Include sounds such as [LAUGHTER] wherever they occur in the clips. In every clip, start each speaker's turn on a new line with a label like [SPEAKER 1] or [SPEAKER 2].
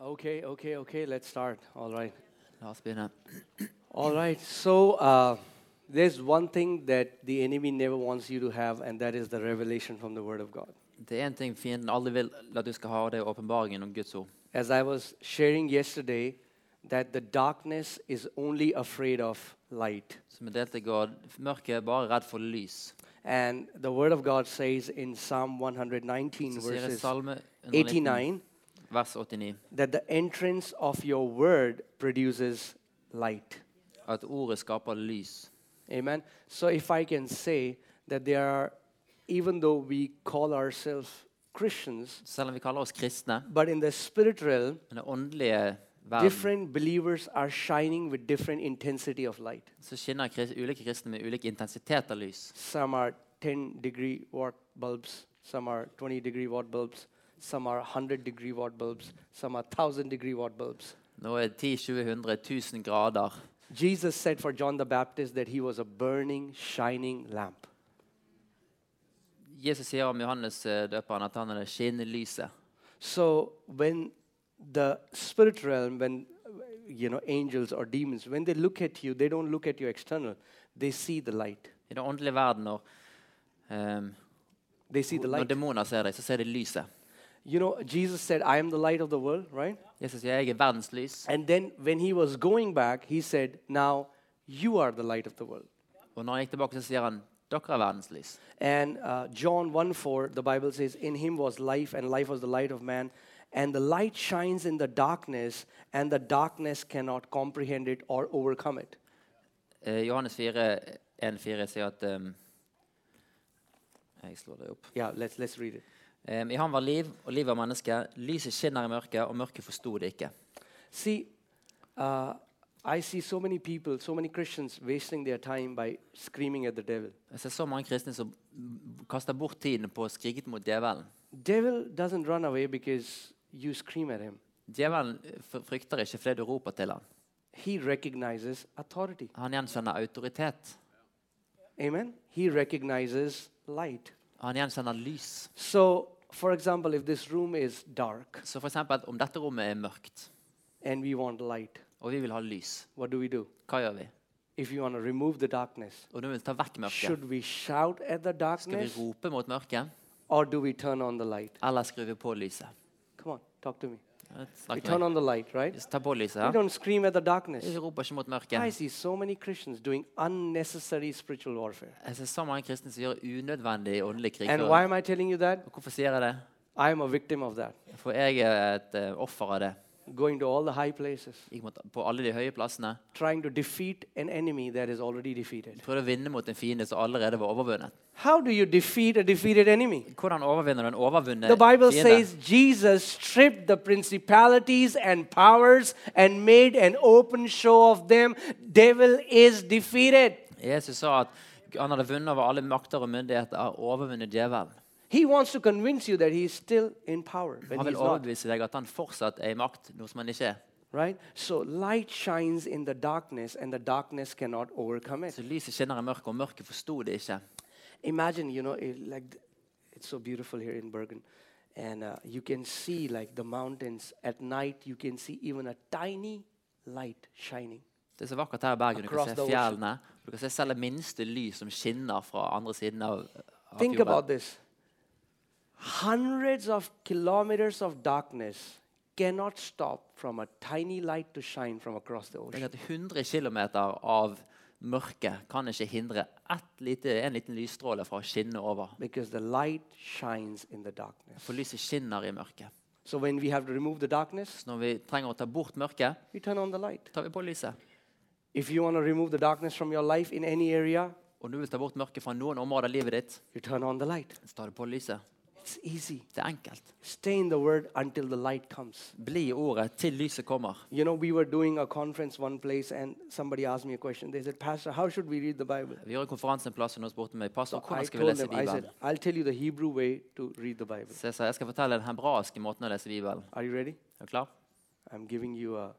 [SPEAKER 1] Okay, okay, okay. Let's start. All right.
[SPEAKER 2] La oss begynne.
[SPEAKER 1] All right. So, uh, there's one thing that the enemy never wants you to have, and that is the revelation from the Word of God.
[SPEAKER 2] Det er en ting fienden aldri vil at du skal ha, og det er åpenbaringen om Guds ord.
[SPEAKER 1] As I was sharing yesterday, that the darkness is only afraid of light.
[SPEAKER 2] Som vi delte i går, mørket er bare redd for lys.
[SPEAKER 1] And the Word of God says in Psalm 119,
[SPEAKER 2] Så sier i
[SPEAKER 1] verses
[SPEAKER 2] Salme
[SPEAKER 1] 89,
[SPEAKER 2] 119, vers 89
[SPEAKER 1] that the entrance of your Word produces light.
[SPEAKER 2] at ordet skaper lys.
[SPEAKER 1] Amen. So if I can say that there are, even though we call ourselves Christians,
[SPEAKER 2] Selv om vi kaller oss kristne,
[SPEAKER 1] but in the spirit realm,
[SPEAKER 2] men den åndelige verden,
[SPEAKER 1] different believers are shining with different intensity of light.
[SPEAKER 2] så skinner kris ulike kristne med ulik intensitet av lys.
[SPEAKER 1] Some are 10 degree watt bulbs, some are 20 degree watt bulbs, some are 100 degree watt bulbs, some are 1000 degree watt bulbs.
[SPEAKER 2] Nå er det 10, 20, 100, 1000 grader.
[SPEAKER 1] Jesus said for John the Baptist that he was a burning, shining lamp.
[SPEAKER 2] Jesus sier om Johannes eh, døperen at han er det skinnende lyset.
[SPEAKER 1] So when the spirit realm, when you know angels or demons, when they look at you, they don't look at your external. They see the light.
[SPEAKER 2] I den åndelige verden, når, ehm,
[SPEAKER 1] They see the
[SPEAKER 2] når
[SPEAKER 1] light.
[SPEAKER 2] demoner ser deg, så ser de lyset.
[SPEAKER 1] You know, Jesus said, "I am the light of the world," right?
[SPEAKER 2] Jesus sier jeg er verdens lys.
[SPEAKER 1] And then when he was going back, he said, "Now you are the light of the world."
[SPEAKER 2] Og når han gikk tilbake, så sier han dere er verdens lys.
[SPEAKER 1] And uh, John 1 4, the Bible says, In him was life, and life was the light of man. And the light shines in the darkness, and the darkness cannot comprehend it or overcome it.
[SPEAKER 2] Eh, Johannes 4, 1,4 sier at ehm, Jeg slår det opp.
[SPEAKER 1] Yeah, let's, let's read it.
[SPEAKER 2] Ehm, I han var liv, og livet var menneske. Lyset skinner i mørket, og mørket forsto det ikke.
[SPEAKER 1] See, uh, I see so many people, so many Christians wasting their time by screaming at the devil.
[SPEAKER 2] Jeg ser så mange kristne som b- kaster bort tiden på å skrike mot djevelen.
[SPEAKER 1] Devil doesn't run away because you scream at him.
[SPEAKER 2] Djevelen eh, fr- frykter ikke fordi du roper til ham.
[SPEAKER 1] He recognizes authority.
[SPEAKER 2] Han gjenkjenner autoritet.
[SPEAKER 1] Amen. He recognizes light.
[SPEAKER 2] Han gjenkjenner lys.
[SPEAKER 1] So, for example, if this room is dark
[SPEAKER 2] Så for eksempel, at om dette rommet er mørkt,
[SPEAKER 1] and we want light,
[SPEAKER 2] og vi vil ha lys,
[SPEAKER 1] what do we do?
[SPEAKER 2] hva gjør vi?
[SPEAKER 1] If you want to remove the darkness,
[SPEAKER 2] Og nå vil vi ta vekk mørket.
[SPEAKER 1] should we shout at the
[SPEAKER 2] Skal vi
[SPEAKER 1] darkness
[SPEAKER 2] rope mot mørket,
[SPEAKER 1] or do we turn on the light?
[SPEAKER 2] eller skrur vi på lyset?
[SPEAKER 1] Come on, talk to me. We
[SPEAKER 2] Snakk med
[SPEAKER 1] turn
[SPEAKER 2] meg.
[SPEAKER 1] on the light, right?
[SPEAKER 2] Ta på lyset
[SPEAKER 1] We
[SPEAKER 2] her.
[SPEAKER 1] don't scream at the darkness.
[SPEAKER 2] Jeg roper ikke mot
[SPEAKER 1] I
[SPEAKER 2] mørket.
[SPEAKER 1] see so many Christians doing unnecessary spiritual warfare.
[SPEAKER 2] Jeg ser så mange kristne som gjør unødvendig åndelig
[SPEAKER 1] And why
[SPEAKER 2] krigføring.
[SPEAKER 1] am I telling you that?
[SPEAKER 2] Og Hvorfor sier jeg det?
[SPEAKER 1] I am a victim of that.
[SPEAKER 2] For jeg er et eh, offer av det.
[SPEAKER 1] Going to all the high places,
[SPEAKER 2] Gikk mot, på alle de høye plassene.
[SPEAKER 1] trying to defeat an enemy that is already defeated.
[SPEAKER 2] Prøvde å vinne mot en fiende som allerede var overvunnet.
[SPEAKER 1] How do you defeat a defeated enemy?
[SPEAKER 2] Hvordan overvinner du en overvunnet
[SPEAKER 1] The Bible
[SPEAKER 2] fiende?
[SPEAKER 1] says Jesus stripped the principalities and powers and made an open show of them. Devil is defeated.
[SPEAKER 2] Jesus sa at han hadde vunnet over alle makter og myndigheter, har overvunnet djevelen.
[SPEAKER 1] He wants to convince you that he is still in power when
[SPEAKER 2] Han
[SPEAKER 1] he's
[SPEAKER 2] vil
[SPEAKER 1] not.
[SPEAKER 2] overbevise deg at han fortsatt er i makt, noe som han ikke er.
[SPEAKER 1] Right? So light shines in the darkness and the darkness cannot overcome it.
[SPEAKER 2] Så lyset skinner i mørket, og mørket forsto det ikke.
[SPEAKER 1] imagine you know it, like th- it's so beautiful here in bergen and uh, you can see like the mountains at night you can see even a tiny light shining
[SPEAKER 2] Det er så vakkert her i Bergen. Du
[SPEAKER 1] Across
[SPEAKER 2] kan
[SPEAKER 1] the
[SPEAKER 2] se
[SPEAKER 1] ocean.
[SPEAKER 2] fjellene. Du kan se selv det minste lys som skinner fra andre siden av, av
[SPEAKER 1] think
[SPEAKER 2] fjorden.
[SPEAKER 1] about this hundreds of kilometers of darkness cannot stop from a tiny light to shine from across the ocean
[SPEAKER 2] Tenk at 100 km av mørke kan ikke hindre ett lite, en liten lysstråle fra å skinne over.
[SPEAKER 1] because the light shines in the darkness
[SPEAKER 2] For lyset skinner i mørket.
[SPEAKER 1] so when we have to remove the darkness
[SPEAKER 2] Så når vi trenger å ta bort mørket,
[SPEAKER 1] we turn on the light
[SPEAKER 2] tar vi på lyset.
[SPEAKER 1] if you want to remove the darkness from your life in any area
[SPEAKER 2] Og når du vil ta bort mørket fra noen områder av livet ditt,
[SPEAKER 1] you turn on the light
[SPEAKER 2] så tar du på lyset.
[SPEAKER 1] it's easy
[SPEAKER 2] Det er enkelt.
[SPEAKER 1] Stay in the word until the light comes.
[SPEAKER 2] Bli i ordet til lyset kommer.
[SPEAKER 1] You know, we were doing a conference one place and somebody asked me a question. They said, Pastor, how should we read the Bible?
[SPEAKER 2] Vi gjorde en konferanse en plass, og noen spurte meg pastor,
[SPEAKER 1] I
[SPEAKER 2] hvordan skal vi
[SPEAKER 1] told
[SPEAKER 2] lese
[SPEAKER 1] them, I said,
[SPEAKER 2] Bibelen.
[SPEAKER 1] I'll tell you the Hebrew way to read the Bible.
[SPEAKER 2] Så jeg sa jeg skal fortelle den hebraiske måten å lese Bibelen.
[SPEAKER 1] Are you ready?
[SPEAKER 2] Er du klar?
[SPEAKER 1] I'm giving you a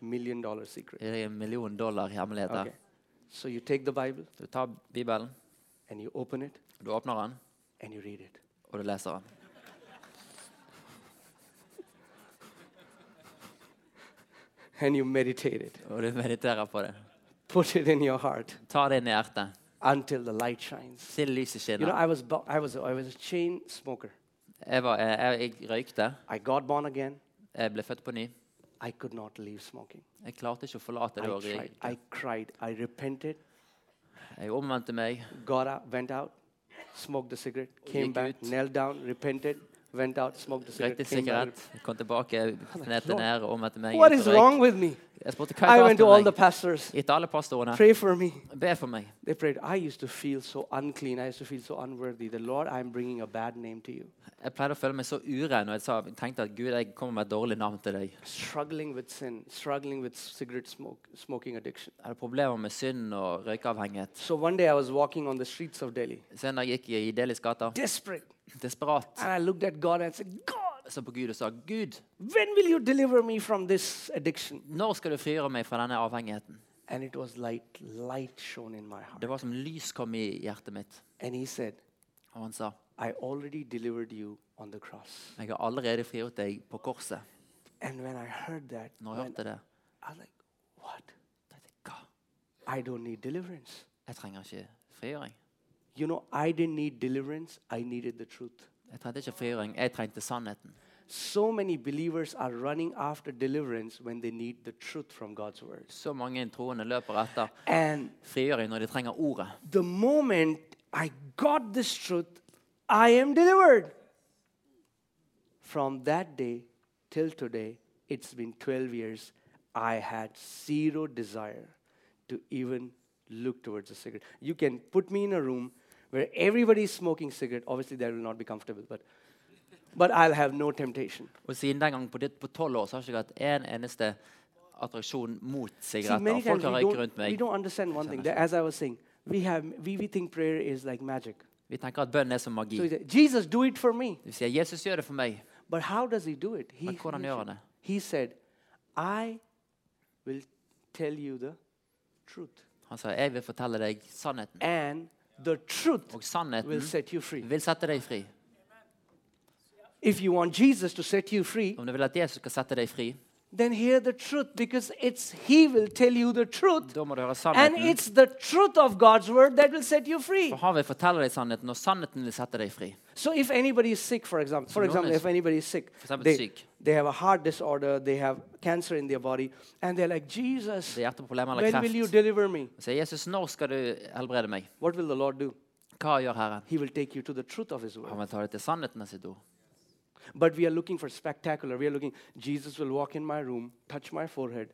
[SPEAKER 1] million dollar secret.
[SPEAKER 2] Gi deg en million dollar i hemmeligheter.
[SPEAKER 1] Okay. So you take the Bible
[SPEAKER 2] Du tar Bibelen,
[SPEAKER 1] and you open it
[SPEAKER 2] du åpner den,
[SPEAKER 1] and you read it.
[SPEAKER 2] og du leser den.
[SPEAKER 1] and you meditate it.
[SPEAKER 2] og du mediterer på det.
[SPEAKER 1] Put it in your heart
[SPEAKER 2] Ta det inn i hjertet.
[SPEAKER 1] until the light shines.
[SPEAKER 2] Til lyset
[SPEAKER 1] You know,
[SPEAKER 2] skinner.
[SPEAKER 1] I was, bo- I was, I was a chain smoker.
[SPEAKER 2] Jeg, var, jeg, jeg røykte.
[SPEAKER 1] I got born again.
[SPEAKER 2] Jeg ble født på ny.
[SPEAKER 1] I could not leave smoking.
[SPEAKER 2] Jeg klarte ikke å forlate
[SPEAKER 1] I
[SPEAKER 2] det. å
[SPEAKER 1] tried.
[SPEAKER 2] røyke.
[SPEAKER 1] I cried. I repented.
[SPEAKER 2] Jeg omvendte meg.
[SPEAKER 1] Got out, went out, smoked the cigarette, came
[SPEAKER 2] Gikk
[SPEAKER 1] back,
[SPEAKER 2] ut.
[SPEAKER 1] knelt down, repented, went out, smoked the cigarette,
[SPEAKER 2] Røykte
[SPEAKER 1] came back.
[SPEAKER 2] sigarett, kom tilbake, knete ned og omvendte meg.
[SPEAKER 1] What
[SPEAKER 2] gikk
[SPEAKER 1] is
[SPEAKER 2] og røyk.
[SPEAKER 1] wrong with me?
[SPEAKER 2] Jeg spurte hva
[SPEAKER 1] I
[SPEAKER 2] er
[SPEAKER 1] went to
[SPEAKER 2] galt
[SPEAKER 1] all the
[SPEAKER 2] med deg.
[SPEAKER 1] pastors.
[SPEAKER 2] Gitt alle pastorene.
[SPEAKER 1] Pray for me.
[SPEAKER 2] Be for meg.
[SPEAKER 1] They prayed. I used to feel so unclean. I used to feel so unworthy. The Lord, I'm bringing a bad name to you.
[SPEAKER 2] Jeg pleide å føle meg så urein og jeg sa, tenkte at Gud, jeg kommer med et dårlig navn til deg.
[SPEAKER 1] Struggling with sin, struggling with cigarette smoke, smoking addiction.
[SPEAKER 2] Jeg hadde problemer med synd og røykeavhengighet.
[SPEAKER 1] So one day I was walking on the streets of Delhi,
[SPEAKER 2] Så en dag gikk jeg i Delis gata,
[SPEAKER 1] desperate.
[SPEAKER 2] desperat,
[SPEAKER 1] And I looked at God and said, God,
[SPEAKER 2] så på Gud og sa, Gud,
[SPEAKER 1] when will you deliver me from this addiction?
[SPEAKER 2] når skal du frigjøre meg fra denne avhengigheten?
[SPEAKER 1] And it was like light shone in my heart.
[SPEAKER 2] Det var som lys kom i hjertet mitt.
[SPEAKER 1] And He said,
[SPEAKER 2] Og han sa,
[SPEAKER 1] I already delivered you on the cross.
[SPEAKER 2] jeg har allerede frigjort deg på korset.
[SPEAKER 1] And when I heard that,
[SPEAKER 2] Når jeg
[SPEAKER 1] when-
[SPEAKER 2] hørte det,
[SPEAKER 1] I was like, what?
[SPEAKER 2] tenkte jeg, hva?
[SPEAKER 1] I don't need deliverance.
[SPEAKER 2] Jeg trenger ikke frigjøring.
[SPEAKER 1] You know, I didn't need deliverance, I needed the truth.
[SPEAKER 2] Jeg trengte ikke frigjøring, jeg trengte sannheten.
[SPEAKER 1] So many believers are running after deliverance when they need the truth from God's words.
[SPEAKER 2] Så mange troende løper etter
[SPEAKER 1] And
[SPEAKER 2] frigjøring når de trenger ordet.
[SPEAKER 1] the moment I got this truth, I am delivered. From that day till today, it's been 12 years. I had zero desire to even look towards a cigarette. You can put me in a room where everybody is smoking cigarette. Obviously, that will not be comfortable, but, but I'll have no temptation.
[SPEAKER 2] Og siden den gang på ditt- på tolv år så har jeg ikke hatt en eneste attraksjon mot
[SPEAKER 1] See,
[SPEAKER 2] sigaretter.
[SPEAKER 1] many times
[SPEAKER 2] Folk har
[SPEAKER 1] we
[SPEAKER 2] røykt rundt
[SPEAKER 1] don't, we
[SPEAKER 2] meg.
[SPEAKER 1] don't understand one thing. That, as I was saying, we, have, we, we think prayer is like magic.
[SPEAKER 2] Vi tenker at bønn er som
[SPEAKER 1] So he
[SPEAKER 2] magi.
[SPEAKER 1] said, Jesus, do it for me.
[SPEAKER 2] Du sier 'Jesus gjør det for meg'.
[SPEAKER 1] But how does he do it? He,
[SPEAKER 2] Men hvordan
[SPEAKER 1] he
[SPEAKER 2] gjør
[SPEAKER 1] said-
[SPEAKER 2] han det?
[SPEAKER 1] he said, I will tell you the truth.
[SPEAKER 2] Han sa 'Jeg vil fortelle deg sannheten'.
[SPEAKER 1] And the truth
[SPEAKER 2] Og sannheten
[SPEAKER 1] will set you free.
[SPEAKER 2] vil sette deg fri.
[SPEAKER 1] If you want Jesus to set you free,
[SPEAKER 2] Om du vil at Jesus skal sette deg fri,
[SPEAKER 1] then hear the truth because it's He will tell you the truth.
[SPEAKER 2] da må du høre
[SPEAKER 1] And
[SPEAKER 2] sannheten.
[SPEAKER 1] it's the truth of God's word that will set you free.
[SPEAKER 2] For han vil fortelle deg sannheten, og sannheten vil sette deg fri.
[SPEAKER 1] So if anybody is sick, for example, for
[SPEAKER 2] no
[SPEAKER 1] example,
[SPEAKER 2] one
[SPEAKER 1] if
[SPEAKER 2] is-
[SPEAKER 1] anybody is sick,
[SPEAKER 2] example,
[SPEAKER 1] they,
[SPEAKER 2] sick.
[SPEAKER 1] they have a heart disorder, they have cancer in their body, and they're like, Jesus,
[SPEAKER 2] Det er hjerteproblemer eller
[SPEAKER 1] when will you
[SPEAKER 2] kreft.
[SPEAKER 1] deliver me?
[SPEAKER 2] Og sier 'Jesus, når skal du helbrede meg?'
[SPEAKER 1] What will the Lord do?
[SPEAKER 2] Hva gjør Herren?
[SPEAKER 1] He will take you to the truth of His word.
[SPEAKER 2] Han vil ta deg til sannheten med sitt ord.
[SPEAKER 1] But we are looking for spectacular. We are looking, Jesus will walk in my room, touch my forehead.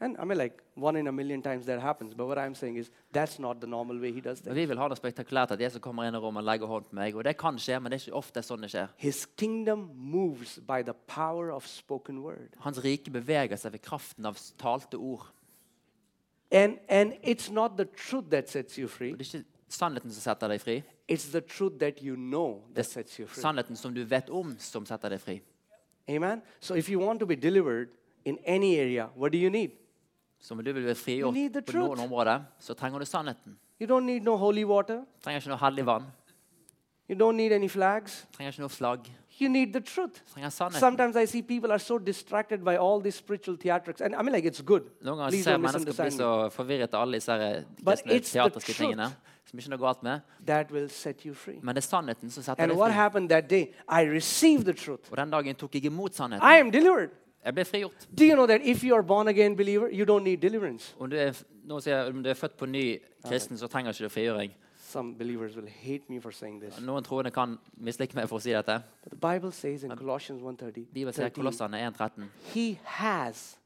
[SPEAKER 1] And I mean, like, one in a million times that happens. But what I'm saying is, that's not the normal way He does
[SPEAKER 2] Men
[SPEAKER 1] that.
[SPEAKER 2] vi vil ha det spektakulært at Jesus kommer inn i rommet og legger hånd på meg. Og det kan skje, men det er ikke ofte sånn det skjer.
[SPEAKER 1] His kingdom moves by the power of spoken word.
[SPEAKER 2] Hans rike beveger seg ved kraften av talte ord.
[SPEAKER 1] And, and it's not the truth that sets you free,
[SPEAKER 2] Og det er ikke sannheten som setter deg fri.
[SPEAKER 1] it's the truth that you know that sets you free.
[SPEAKER 2] Sannheten som du vet om, som setter deg fri.
[SPEAKER 1] Amen? So if you want to be delivered in any area, what do you need?
[SPEAKER 2] Så om du vil bli
[SPEAKER 1] You need
[SPEAKER 2] frigjort
[SPEAKER 1] the
[SPEAKER 2] på noen
[SPEAKER 1] truth.
[SPEAKER 2] områder, så trenger du sannheten.
[SPEAKER 1] You don't need no holy water,
[SPEAKER 2] Trenger ikke noe hellig vann.
[SPEAKER 1] you don't need any flags,
[SPEAKER 2] Trenger ikke noe flagg.
[SPEAKER 1] you need the truth.
[SPEAKER 2] Trenger sannheten.
[SPEAKER 1] Sometimes I see people are so distracted by all these spiritual theatrics. And I mean, like, it's good.
[SPEAKER 2] Noen ganger
[SPEAKER 1] Please
[SPEAKER 2] ser
[SPEAKER 1] don't
[SPEAKER 2] jeg mennesker bli
[SPEAKER 1] misunderstand
[SPEAKER 2] så
[SPEAKER 1] me.
[SPEAKER 2] forvirret av alle disse her eh,
[SPEAKER 1] But
[SPEAKER 2] kristne
[SPEAKER 1] it's the
[SPEAKER 2] teatriske
[SPEAKER 1] truth.
[SPEAKER 2] tingene. Som ikke er noe galt med.
[SPEAKER 1] That will set you free.
[SPEAKER 2] Men det er sannheten som setter
[SPEAKER 1] And
[SPEAKER 2] deg
[SPEAKER 1] what
[SPEAKER 2] fri.
[SPEAKER 1] happened that day? I received the truth.
[SPEAKER 2] Og den dagen tok jeg imot sannheten.
[SPEAKER 1] I am delivered.
[SPEAKER 2] Jeg ble frigjort.
[SPEAKER 1] Do you know that if you are born again believer, you don't need deliverance?
[SPEAKER 2] Om du er, f- nå sier jeg, om du er født på ny kristen, så trenger ikke du frigjøring.
[SPEAKER 1] Some believers will hate me for saying this.
[SPEAKER 2] Noen troende kan mislike meg for å si dette.
[SPEAKER 1] But the Bible says in Colossians 1:30,
[SPEAKER 2] Bibelen sier
[SPEAKER 1] 13,
[SPEAKER 2] Kolossene 1,13.
[SPEAKER 1] He has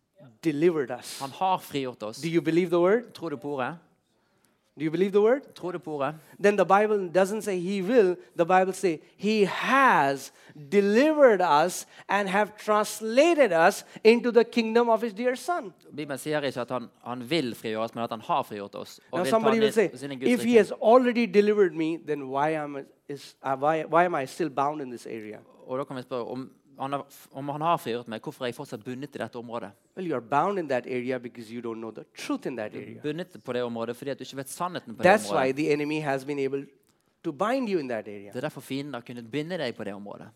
[SPEAKER 1] delivered us.
[SPEAKER 2] Han har frigjort oss.
[SPEAKER 1] Do you believe the word?
[SPEAKER 2] Tror du på ordet?
[SPEAKER 1] Do you believe the word?
[SPEAKER 2] Tror du på ordet?
[SPEAKER 1] then the Bible doesn't say he will. The Bible say he has delivered us and have translated us into the kingdom of his dear son.
[SPEAKER 2] Bibelen sier ikke at han, han vil frigjøre oss, men at han har frigjort oss.
[SPEAKER 1] Now
[SPEAKER 2] vil ta
[SPEAKER 1] somebody will
[SPEAKER 2] ned
[SPEAKER 1] say,
[SPEAKER 2] sin Guds
[SPEAKER 1] if he
[SPEAKER 2] rike.
[SPEAKER 1] has already delivered me, then why am I, is, uh, why, why am I still bound in this area?
[SPEAKER 2] Og da kan vi spørre om han, har, om han har frigjort meg, hvorfor er jeg fortsatt bundet til dette området?
[SPEAKER 1] Well, you are bound in that area because you don't know the truth in that area.
[SPEAKER 2] Bundet på det området fordi at du ikke vet sannheten på
[SPEAKER 1] That's
[SPEAKER 2] det
[SPEAKER 1] why
[SPEAKER 2] området.
[SPEAKER 1] the enemy has been able to bind you in that area.
[SPEAKER 2] Det er derfor fienden har kunnet binde deg på det området.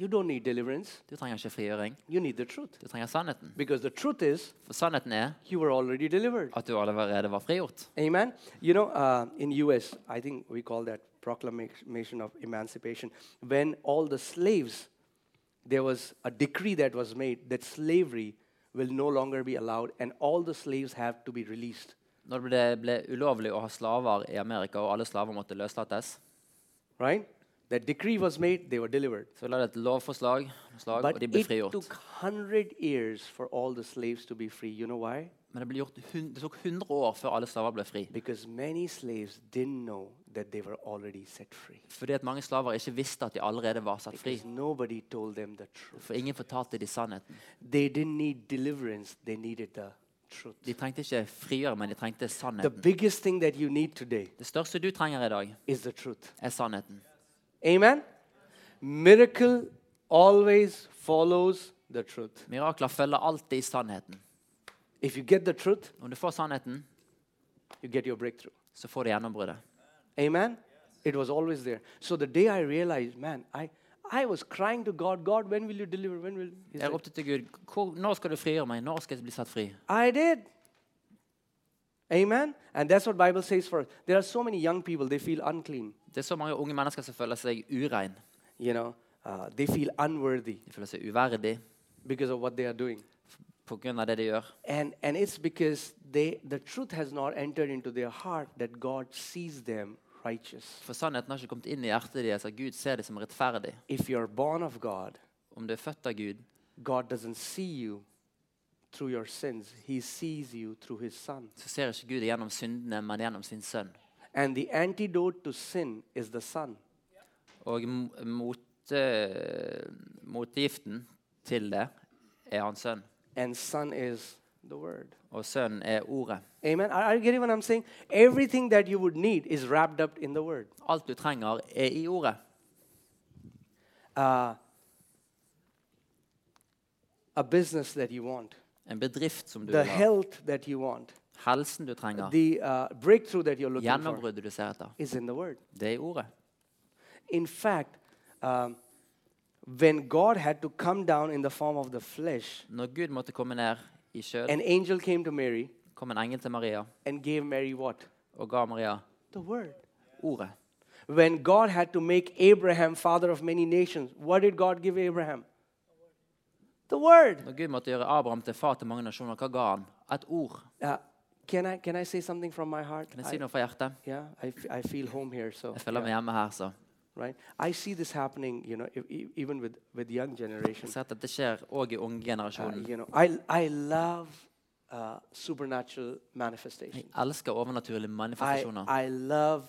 [SPEAKER 1] You don't need deliverance.
[SPEAKER 2] Du trenger ikke frigjøring.
[SPEAKER 1] You need the truth.
[SPEAKER 2] Du trenger sannheten.
[SPEAKER 1] Because the truth is,
[SPEAKER 2] For sannheten er
[SPEAKER 1] you were already delivered.
[SPEAKER 2] at du allerede var frigjort.
[SPEAKER 1] Amen. You know, uh, in U.S., I think we call that proclamation of emancipation. When all the slaves, there was a decree that was made that slavery will no longer be allowed, and all the slaves have to be released.
[SPEAKER 2] Når det ble ulovlig å ha slaver i Amerika, og alle slaver måtte løslates,
[SPEAKER 1] Right? That decree was made; they were delivered.
[SPEAKER 2] så la det et lovforslag, slag, og
[SPEAKER 1] But
[SPEAKER 2] de ble
[SPEAKER 1] it
[SPEAKER 2] frigjort.
[SPEAKER 1] took hundred years for all the slaves to be free. You know why?
[SPEAKER 2] Men det, ble gjort hun, det tok 100 år før alle slaver ble fri.
[SPEAKER 1] Because many slaves didn't know that they were already set free.
[SPEAKER 2] Fordi at mange slaver ikke visste at de allerede var satt fri.
[SPEAKER 1] Because nobody told them the truth.
[SPEAKER 2] For ingen fortalte de sannheten.
[SPEAKER 1] They didn't need deliverance, they needed the truth.
[SPEAKER 2] De trengte ikke frigjøre, men de trengte
[SPEAKER 1] The
[SPEAKER 2] sannheten.
[SPEAKER 1] biggest thing that you need today
[SPEAKER 2] Det største du trenger i dag,
[SPEAKER 1] is the truth.
[SPEAKER 2] er sannheten.
[SPEAKER 1] Amen? Miracle always follows the truth.
[SPEAKER 2] Mirakler følger alltid sannheten.
[SPEAKER 1] If you get the truth,
[SPEAKER 2] Om du får sannheten,
[SPEAKER 1] you get your breakthrough.
[SPEAKER 2] så får du gjennombruddet.
[SPEAKER 1] Amen? It was always there. So the day I realized, man, I, I was crying to God, God, when will you deliver? When will He
[SPEAKER 2] Jeg
[SPEAKER 1] said,
[SPEAKER 2] ropte til Gud hvor, Når skal du frigjøre meg? Når skal jeg bli satt fri?
[SPEAKER 1] I did. Amen? And that's what Bible says for us. There are so many young people, they feel unclean.
[SPEAKER 2] Det er så mange unge mennesker som føler seg urein.
[SPEAKER 1] You know, uh, they feel unworthy
[SPEAKER 2] De føler seg uverdig
[SPEAKER 1] because of what they are doing.
[SPEAKER 2] pga. det de gjør.
[SPEAKER 1] And, and it's because they, the truth has not entered into their heart that God sees them righteous.
[SPEAKER 2] For sannheten har ikke kommet inn i hjertet deres at Gud ser det som rettferdig.
[SPEAKER 1] If you're born of God,
[SPEAKER 2] Om du er født av Gud,
[SPEAKER 1] God doesn't see you through your sins, He sees you through His Son.
[SPEAKER 2] så ser ikke Gud gjennom syndene, men gjennom sin sønn.
[SPEAKER 1] And the antidote to sin is the Son.
[SPEAKER 2] Og m- mot, eh, motgiften til det er hans sønn.
[SPEAKER 1] And Son is the Word.
[SPEAKER 2] Og sønnen er ordet.
[SPEAKER 1] Amen. Are are you getting what I'm saying? Everything that you would need is wrapped up in the Word.
[SPEAKER 2] Alt du trenger, er i ordet.
[SPEAKER 1] Uh, a business that you want,
[SPEAKER 2] En bedrift som du
[SPEAKER 1] the
[SPEAKER 2] vil ha.
[SPEAKER 1] health that you want,
[SPEAKER 2] Helsen du trenger.
[SPEAKER 1] the uh, breakthrough that you're looking for.
[SPEAKER 2] Gjennombruddet du ser etter.
[SPEAKER 1] is in the Word.
[SPEAKER 2] Det er i ordet.
[SPEAKER 1] In fact, um, when God had to come down in the form of the flesh,
[SPEAKER 2] Når Gud måtte komme ned i sjøen,
[SPEAKER 1] an angel came to Mary
[SPEAKER 2] kom en engel til Maria
[SPEAKER 1] and gave Mary what?
[SPEAKER 2] og ga Maria
[SPEAKER 1] The Word.
[SPEAKER 2] ordet.
[SPEAKER 1] When God had to make Abraham father of many nations, what did God give Abraham? The Word.
[SPEAKER 2] Når Gud måtte gjøre Abraham til far til mange nasjoner, hva ga han? Et ord.
[SPEAKER 1] Uh, can, I, can I say something from my heart?
[SPEAKER 2] Kan jeg
[SPEAKER 1] I-
[SPEAKER 2] si noe fra hjertet?
[SPEAKER 1] yeah, I, f- I feel home here, so.
[SPEAKER 2] Jeg føler meg hjemme her, så.
[SPEAKER 1] Right? I see this happening, you know, e- e- even with, with young generation.
[SPEAKER 2] Jeg ser at dette skjer òg i
[SPEAKER 1] Uh,
[SPEAKER 2] ungegenerasjonen.
[SPEAKER 1] you know, I, I love uh, supernatural manifestation.
[SPEAKER 2] Jeg elsker overnaturlige
[SPEAKER 1] I,
[SPEAKER 2] manifestasjoner.
[SPEAKER 1] I love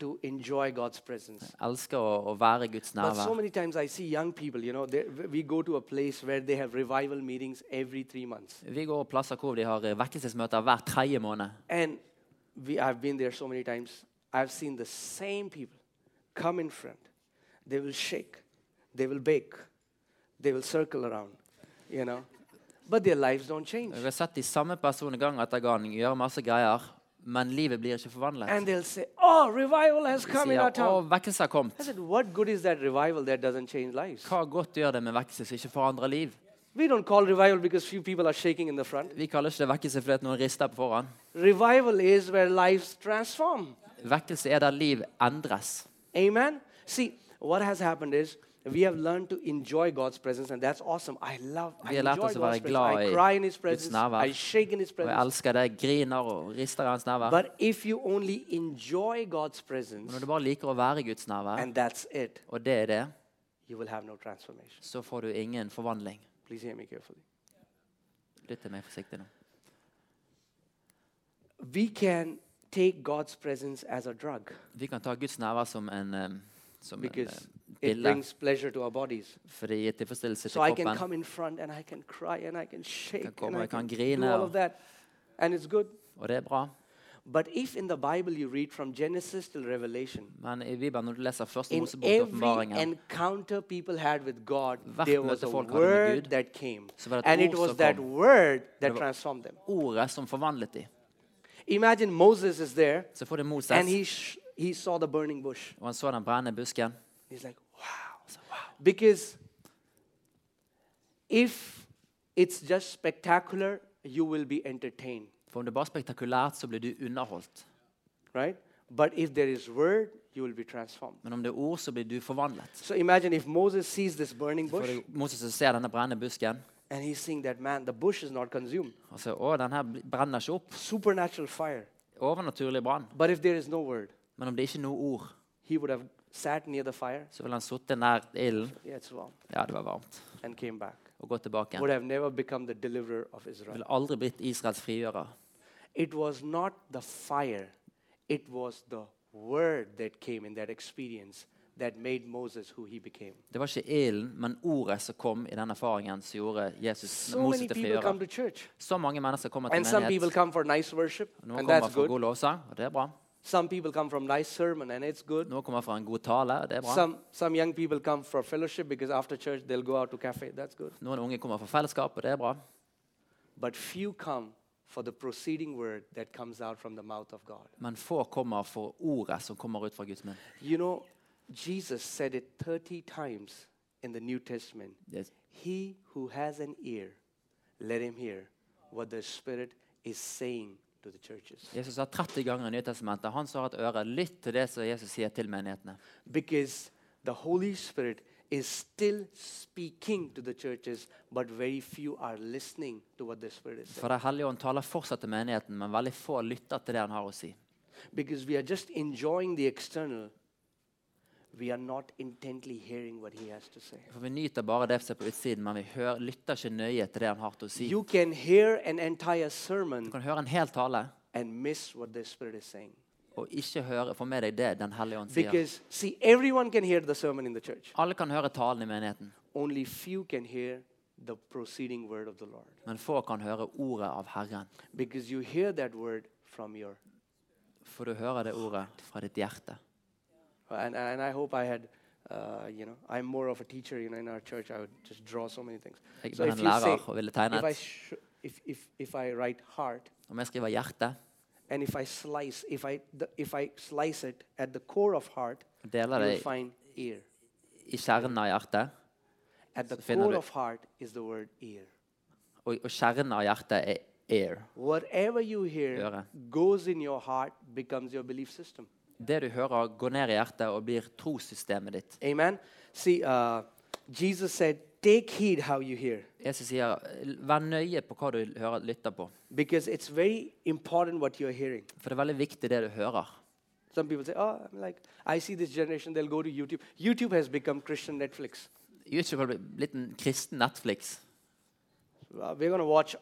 [SPEAKER 1] to enjoy God's presence.
[SPEAKER 2] Jeg elsker å, å være
[SPEAKER 1] But
[SPEAKER 2] Guds
[SPEAKER 1] so
[SPEAKER 2] nærvær.
[SPEAKER 1] many times I see young people, you know, they, we go to a place where they have revival meetings every three months.
[SPEAKER 2] Vi går plasser hvor de har vekkelsesmøter hver tredje måned.
[SPEAKER 1] And we, I've been there so many times. I've seen the same people come in front. They will shake, they will bake, they will circle around, you know. But their lives don't change.
[SPEAKER 2] Jeg har sett de samme personene gang etter gang gjøre masse greier, men livet blir ikke forvandlet.
[SPEAKER 1] And they'll say, Oh, revival has
[SPEAKER 2] De
[SPEAKER 1] come in our
[SPEAKER 2] sier å,
[SPEAKER 1] town.
[SPEAKER 2] vekkelse har kommet.
[SPEAKER 1] I said, What good is that revival that doesn't change lives?
[SPEAKER 2] Hva godt gjør det med vekkelse som ikke forandrer liv?
[SPEAKER 1] We don't call revival because few people are shaking in the front.
[SPEAKER 2] Vi kaller ikke det vekkelse fordi at noen rister på forhånd.
[SPEAKER 1] Revival is where lives transform.
[SPEAKER 2] Vekkelse er der liv endres.
[SPEAKER 1] Amen. See, what has happened is we have learned to enjoy God's presence, and that's awesome. I love. I
[SPEAKER 2] Vi har lært
[SPEAKER 1] enjoy
[SPEAKER 2] oss å
[SPEAKER 1] God's
[SPEAKER 2] være
[SPEAKER 1] presence.
[SPEAKER 2] glad
[SPEAKER 1] I
[SPEAKER 2] i
[SPEAKER 1] cry in His
[SPEAKER 2] Guds
[SPEAKER 1] presence.
[SPEAKER 2] nærvær.
[SPEAKER 1] I shake in His
[SPEAKER 2] Og jeg
[SPEAKER 1] presence.
[SPEAKER 2] elsker det. Griner og rister i hans nærvær.
[SPEAKER 1] But if you only enjoy God's presence,
[SPEAKER 2] Men når du bare liker å være i Guds nærvær,
[SPEAKER 1] and that's it,
[SPEAKER 2] og det er det,
[SPEAKER 1] you will have no transformation.
[SPEAKER 2] så får du ingen forvandling.
[SPEAKER 1] Please hear me carefully.
[SPEAKER 2] Lytt til meg forsiktig nå.
[SPEAKER 1] We can take God's presence as a drug
[SPEAKER 2] Vi kan ta Guds nærvær som en, eh, som en
[SPEAKER 1] because
[SPEAKER 2] eh,
[SPEAKER 1] it
[SPEAKER 2] pille
[SPEAKER 1] brings pleasure to our bodies.
[SPEAKER 2] for det gir tilfredsstillelse til
[SPEAKER 1] So I can
[SPEAKER 2] kroppen.
[SPEAKER 1] come in front and I can cry and I can shake
[SPEAKER 2] komme,
[SPEAKER 1] and I
[SPEAKER 2] jeg
[SPEAKER 1] can
[SPEAKER 2] kan
[SPEAKER 1] do
[SPEAKER 2] grine
[SPEAKER 1] all
[SPEAKER 2] og-
[SPEAKER 1] of that, and it's good.
[SPEAKER 2] Og det er bra.
[SPEAKER 1] But if in the Bible you read from Genesis till Revelation,
[SPEAKER 2] Men i Bibelen, når du leser første
[SPEAKER 1] in
[SPEAKER 2] Mosebok til
[SPEAKER 1] every
[SPEAKER 2] åpenbaringen,
[SPEAKER 1] encounter people had with God,
[SPEAKER 2] Vart
[SPEAKER 1] there
[SPEAKER 2] möte
[SPEAKER 1] was a
[SPEAKER 2] folk hade med
[SPEAKER 1] word
[SPEAKER 2] Gud,
[SPEAKER 1] that came.
[SPEAKER 2] så var det ett
[SPEAKER 1] And it
[SPEAKER 2] ord
[SPEAKER 1] was
[SPEAKER 2] som
[SPEAKER 1] that
[SPEAKER 2] kom.
[SPEAKER 1] word
[SPEAKER 2] det
[SPEAKER 1] that
[SPEAKER 2] var-
[SPEAKER 1] transformed them.
[SPEAKER 2] ordet som forvandlet dem.
[SPEAKER 1] Imagine Moses is there
[SPEAKER 2] Så får du Moses,
[SPEAKER 1] and he, sh- he saw the burning bush.
[SPEAKER 2] og han så den brennende busken.
[SPEAKER 1] He's like, wow. Because If it's just spectacular, you will be entertained,
[SPEAKER 2] For om det bare er spektakulært, så blir du underholdt.
[SPEAKER 1] right? But if there is word, you will be transformed.
[SPEAKER 2] Men om det er ord, så blir du forvandlet.
[SPEAKER 1] So imagine if Moses sees this burning
[SPEAKER 2] For
[SPEAKER 1] bush
[SPEAKER 2] det- Moses som ser denne brennende busken,
[SPEAKER 1] and he's seeing that, man, the bush is not consumed.
[SPEAKER 2] og så Å, den her bl- brenner ikke opp.
[SPEAKER 1] Supernatural fire.
[SPEAKER 2] Overnaturlig brann.
[SPEAKER 1] But if there is no word,
[SPEAKER 2] Men om det ikke er noe ord,
[SPEAKER 1] he would have sat near the fire.
[SPEAKER 2] så ville han sittet nær ilden.
[SPEAKER 1] Yeah, it's warm.
[SPEAKER 2] Ja, det var varmt.
[SPEAKER 1] And came back.
[SPEAKER 2] Og gått tilbake igjen.
[SPEAKER 1] Would have never become the deliverer of Israel.
[SPEAKER 2] Ville aldri blitt Israels frigjører.
[SPEAKER 1] It was not the fire, it was the word that came in that experience that made Moses who he became.
[SPEAKER 2] Det var ikke ilden, men ordet som kom i den erfaringen som gjorde Jesus
[SPEAKER 1] So
[SPEAKER 2] Moses
[SPEAKER 1] many
[SPEAKER 2] til
[SPEAKER 1] people come
[SPEAKER 2] frigjører.
[SPEAKER 1] to church.
[SPEAKER 2] Så mange mennesker kommer til
[SPEAKER 1] And some people
[SPEAKER 2] menighet.
[SPEAKER 1] come for nice worship,
[SPEAKER 2] Noen
[SPEAKER 1] and
[SPEAKER 2] kommer
[SPEAKER 1] that's
[SPEAKER 2] fra
[SPEAKER 1] good.
[SPEAKER 2] god lovsang, og det er bra.
[SPEAKER 1] Some people come from nice sermon, and it's good.
[SPEAKER 2] Noen kommer fra en god tale, og det er bra.
[SPEAKER 1] Some, some young people come for fellowship because after church they'll go out to cafe. That's good.
[SPEAKER 2] Noen unge kommer fra fellesskap, og det er bra.
[SPEAKER 1] But few come for the proceeding word that comes out from the mouth of God.
[SPEAKER 2] Men få kommer for ordet som kommer ut fra Guds munn.
[SPEAKER 1] You know, Jesus said it 30 times in the New Testament.
[SPEAKER 2] Yes.
[SPEAKER 1] He who has an ear, let him hear what the Spirit is saying to the churches.
[SPEAKER 2] Jesus sa 30 ganger i Nytestamentet han som har et øre, lytt til det som Jesus sier til menighetene.
[SPEAKER 1] Because the Holy Spirit is still speaking to the churches, but very few are listening to what the Spirit is saying.
[SPEAKER 2] For Den hellige ånd taler fortsatt til menigheten, men veldig få lytter til det han har å si.
[SPEAKER 1] Because we are just enjoying the external, we are not intently hearing what He has to say.
[SPEAKER 2] For Vi nyter bare det som er på utsiden, men vi hører, lytter ikke nøye til det han har til å si.
[SPEAKER 1] You can hear an entire
[SPEAKER 2] Du
[SPEAKER 1] sermon
[SPEAKER 2] kan høre en hel tale
[SPEAKER 1] and miss what the Spirit is saying.
[SPEAKER 2] og ikke høre, få med deg det Den hellige ånd sier.
[SPEAKER 1] Because, see, everyone can hear the sermon in the church,
[SPEAKER 2] Alle kan høre talen i menigheten,
[SPEAKER 1] only few can hear the proceeding word of the Lord.
[SPEAKER 2] men få kan høre ordet av Herren.
[SPEAKER 1] Because you hear that word from your.
[SPEAKER 2] For du hører det ordet fra ditt hjerte.
[SPEAKER 1] And, and I hope I had. Uh, you know, I'm more of a teacher. You know, in our church, I would just draw so many things.
[SPEAKER 2] Jeg
[SPEAKER 1] So
[SPEAKER 2] var
[SPEAKER 1] if
[SPEAKER 2] en
[SPEAKER 1] you say,
[SPEAKER 2] lærer og ville tegne
[SPEAKER 1] if I,
[SPEAKER 2] et.
[SPEAKER 1] sh- if, if, if I write heart,
[SPEAKER 2] Om jeg skriver 'hjerte',
[SPEAKER 1] and if I slice, if I the, if I slice it at the core of heart,
[SPEAKER 2] og deler
[SPEAKER 1] you'll
[SPEAKER 2] det
[SPEAKER 1] find ear.
[SPEAKER 2] i kjernen av hjertet,
[SPEAKER 1] At the
[SPEAKER 2] So find out
[SPEAKER 1] core
[SPEAKER 2] it.
[SPEAKER 1] of heart is the word ear.
[SPEAKER 2] og, og kjernen av hjertet er air.
[SPEAKER 1] Whatever you hear
[SPEAKER 2] Øre.
[SPEAKER 1] goes in your heart becomes your belief system.
[SPEAKER 2] Det du hører, går ned i hjertet og blir trossystemet ditt.
[SPEAKER 1] Amen. See, uh, Jesus said, "Take heed how you hear,"
[SPEAKER 2] Jesus sier, vær nøye på hva du hører, lytter på.
[SPEAKER 1] because it's very important what you're hearing.
[SPEAKER 2] For det er veldig viktig det du hører.
[SPEAKER 1] Some people say, "Oh, I'm like I see this generation; they'll go to YouTube. YouTube has become Christian Netflix.
[SPEAKER 2] YouTube har blitt en kristen Netflix.
[SPEAKER 1] Uh, we're gonna watch."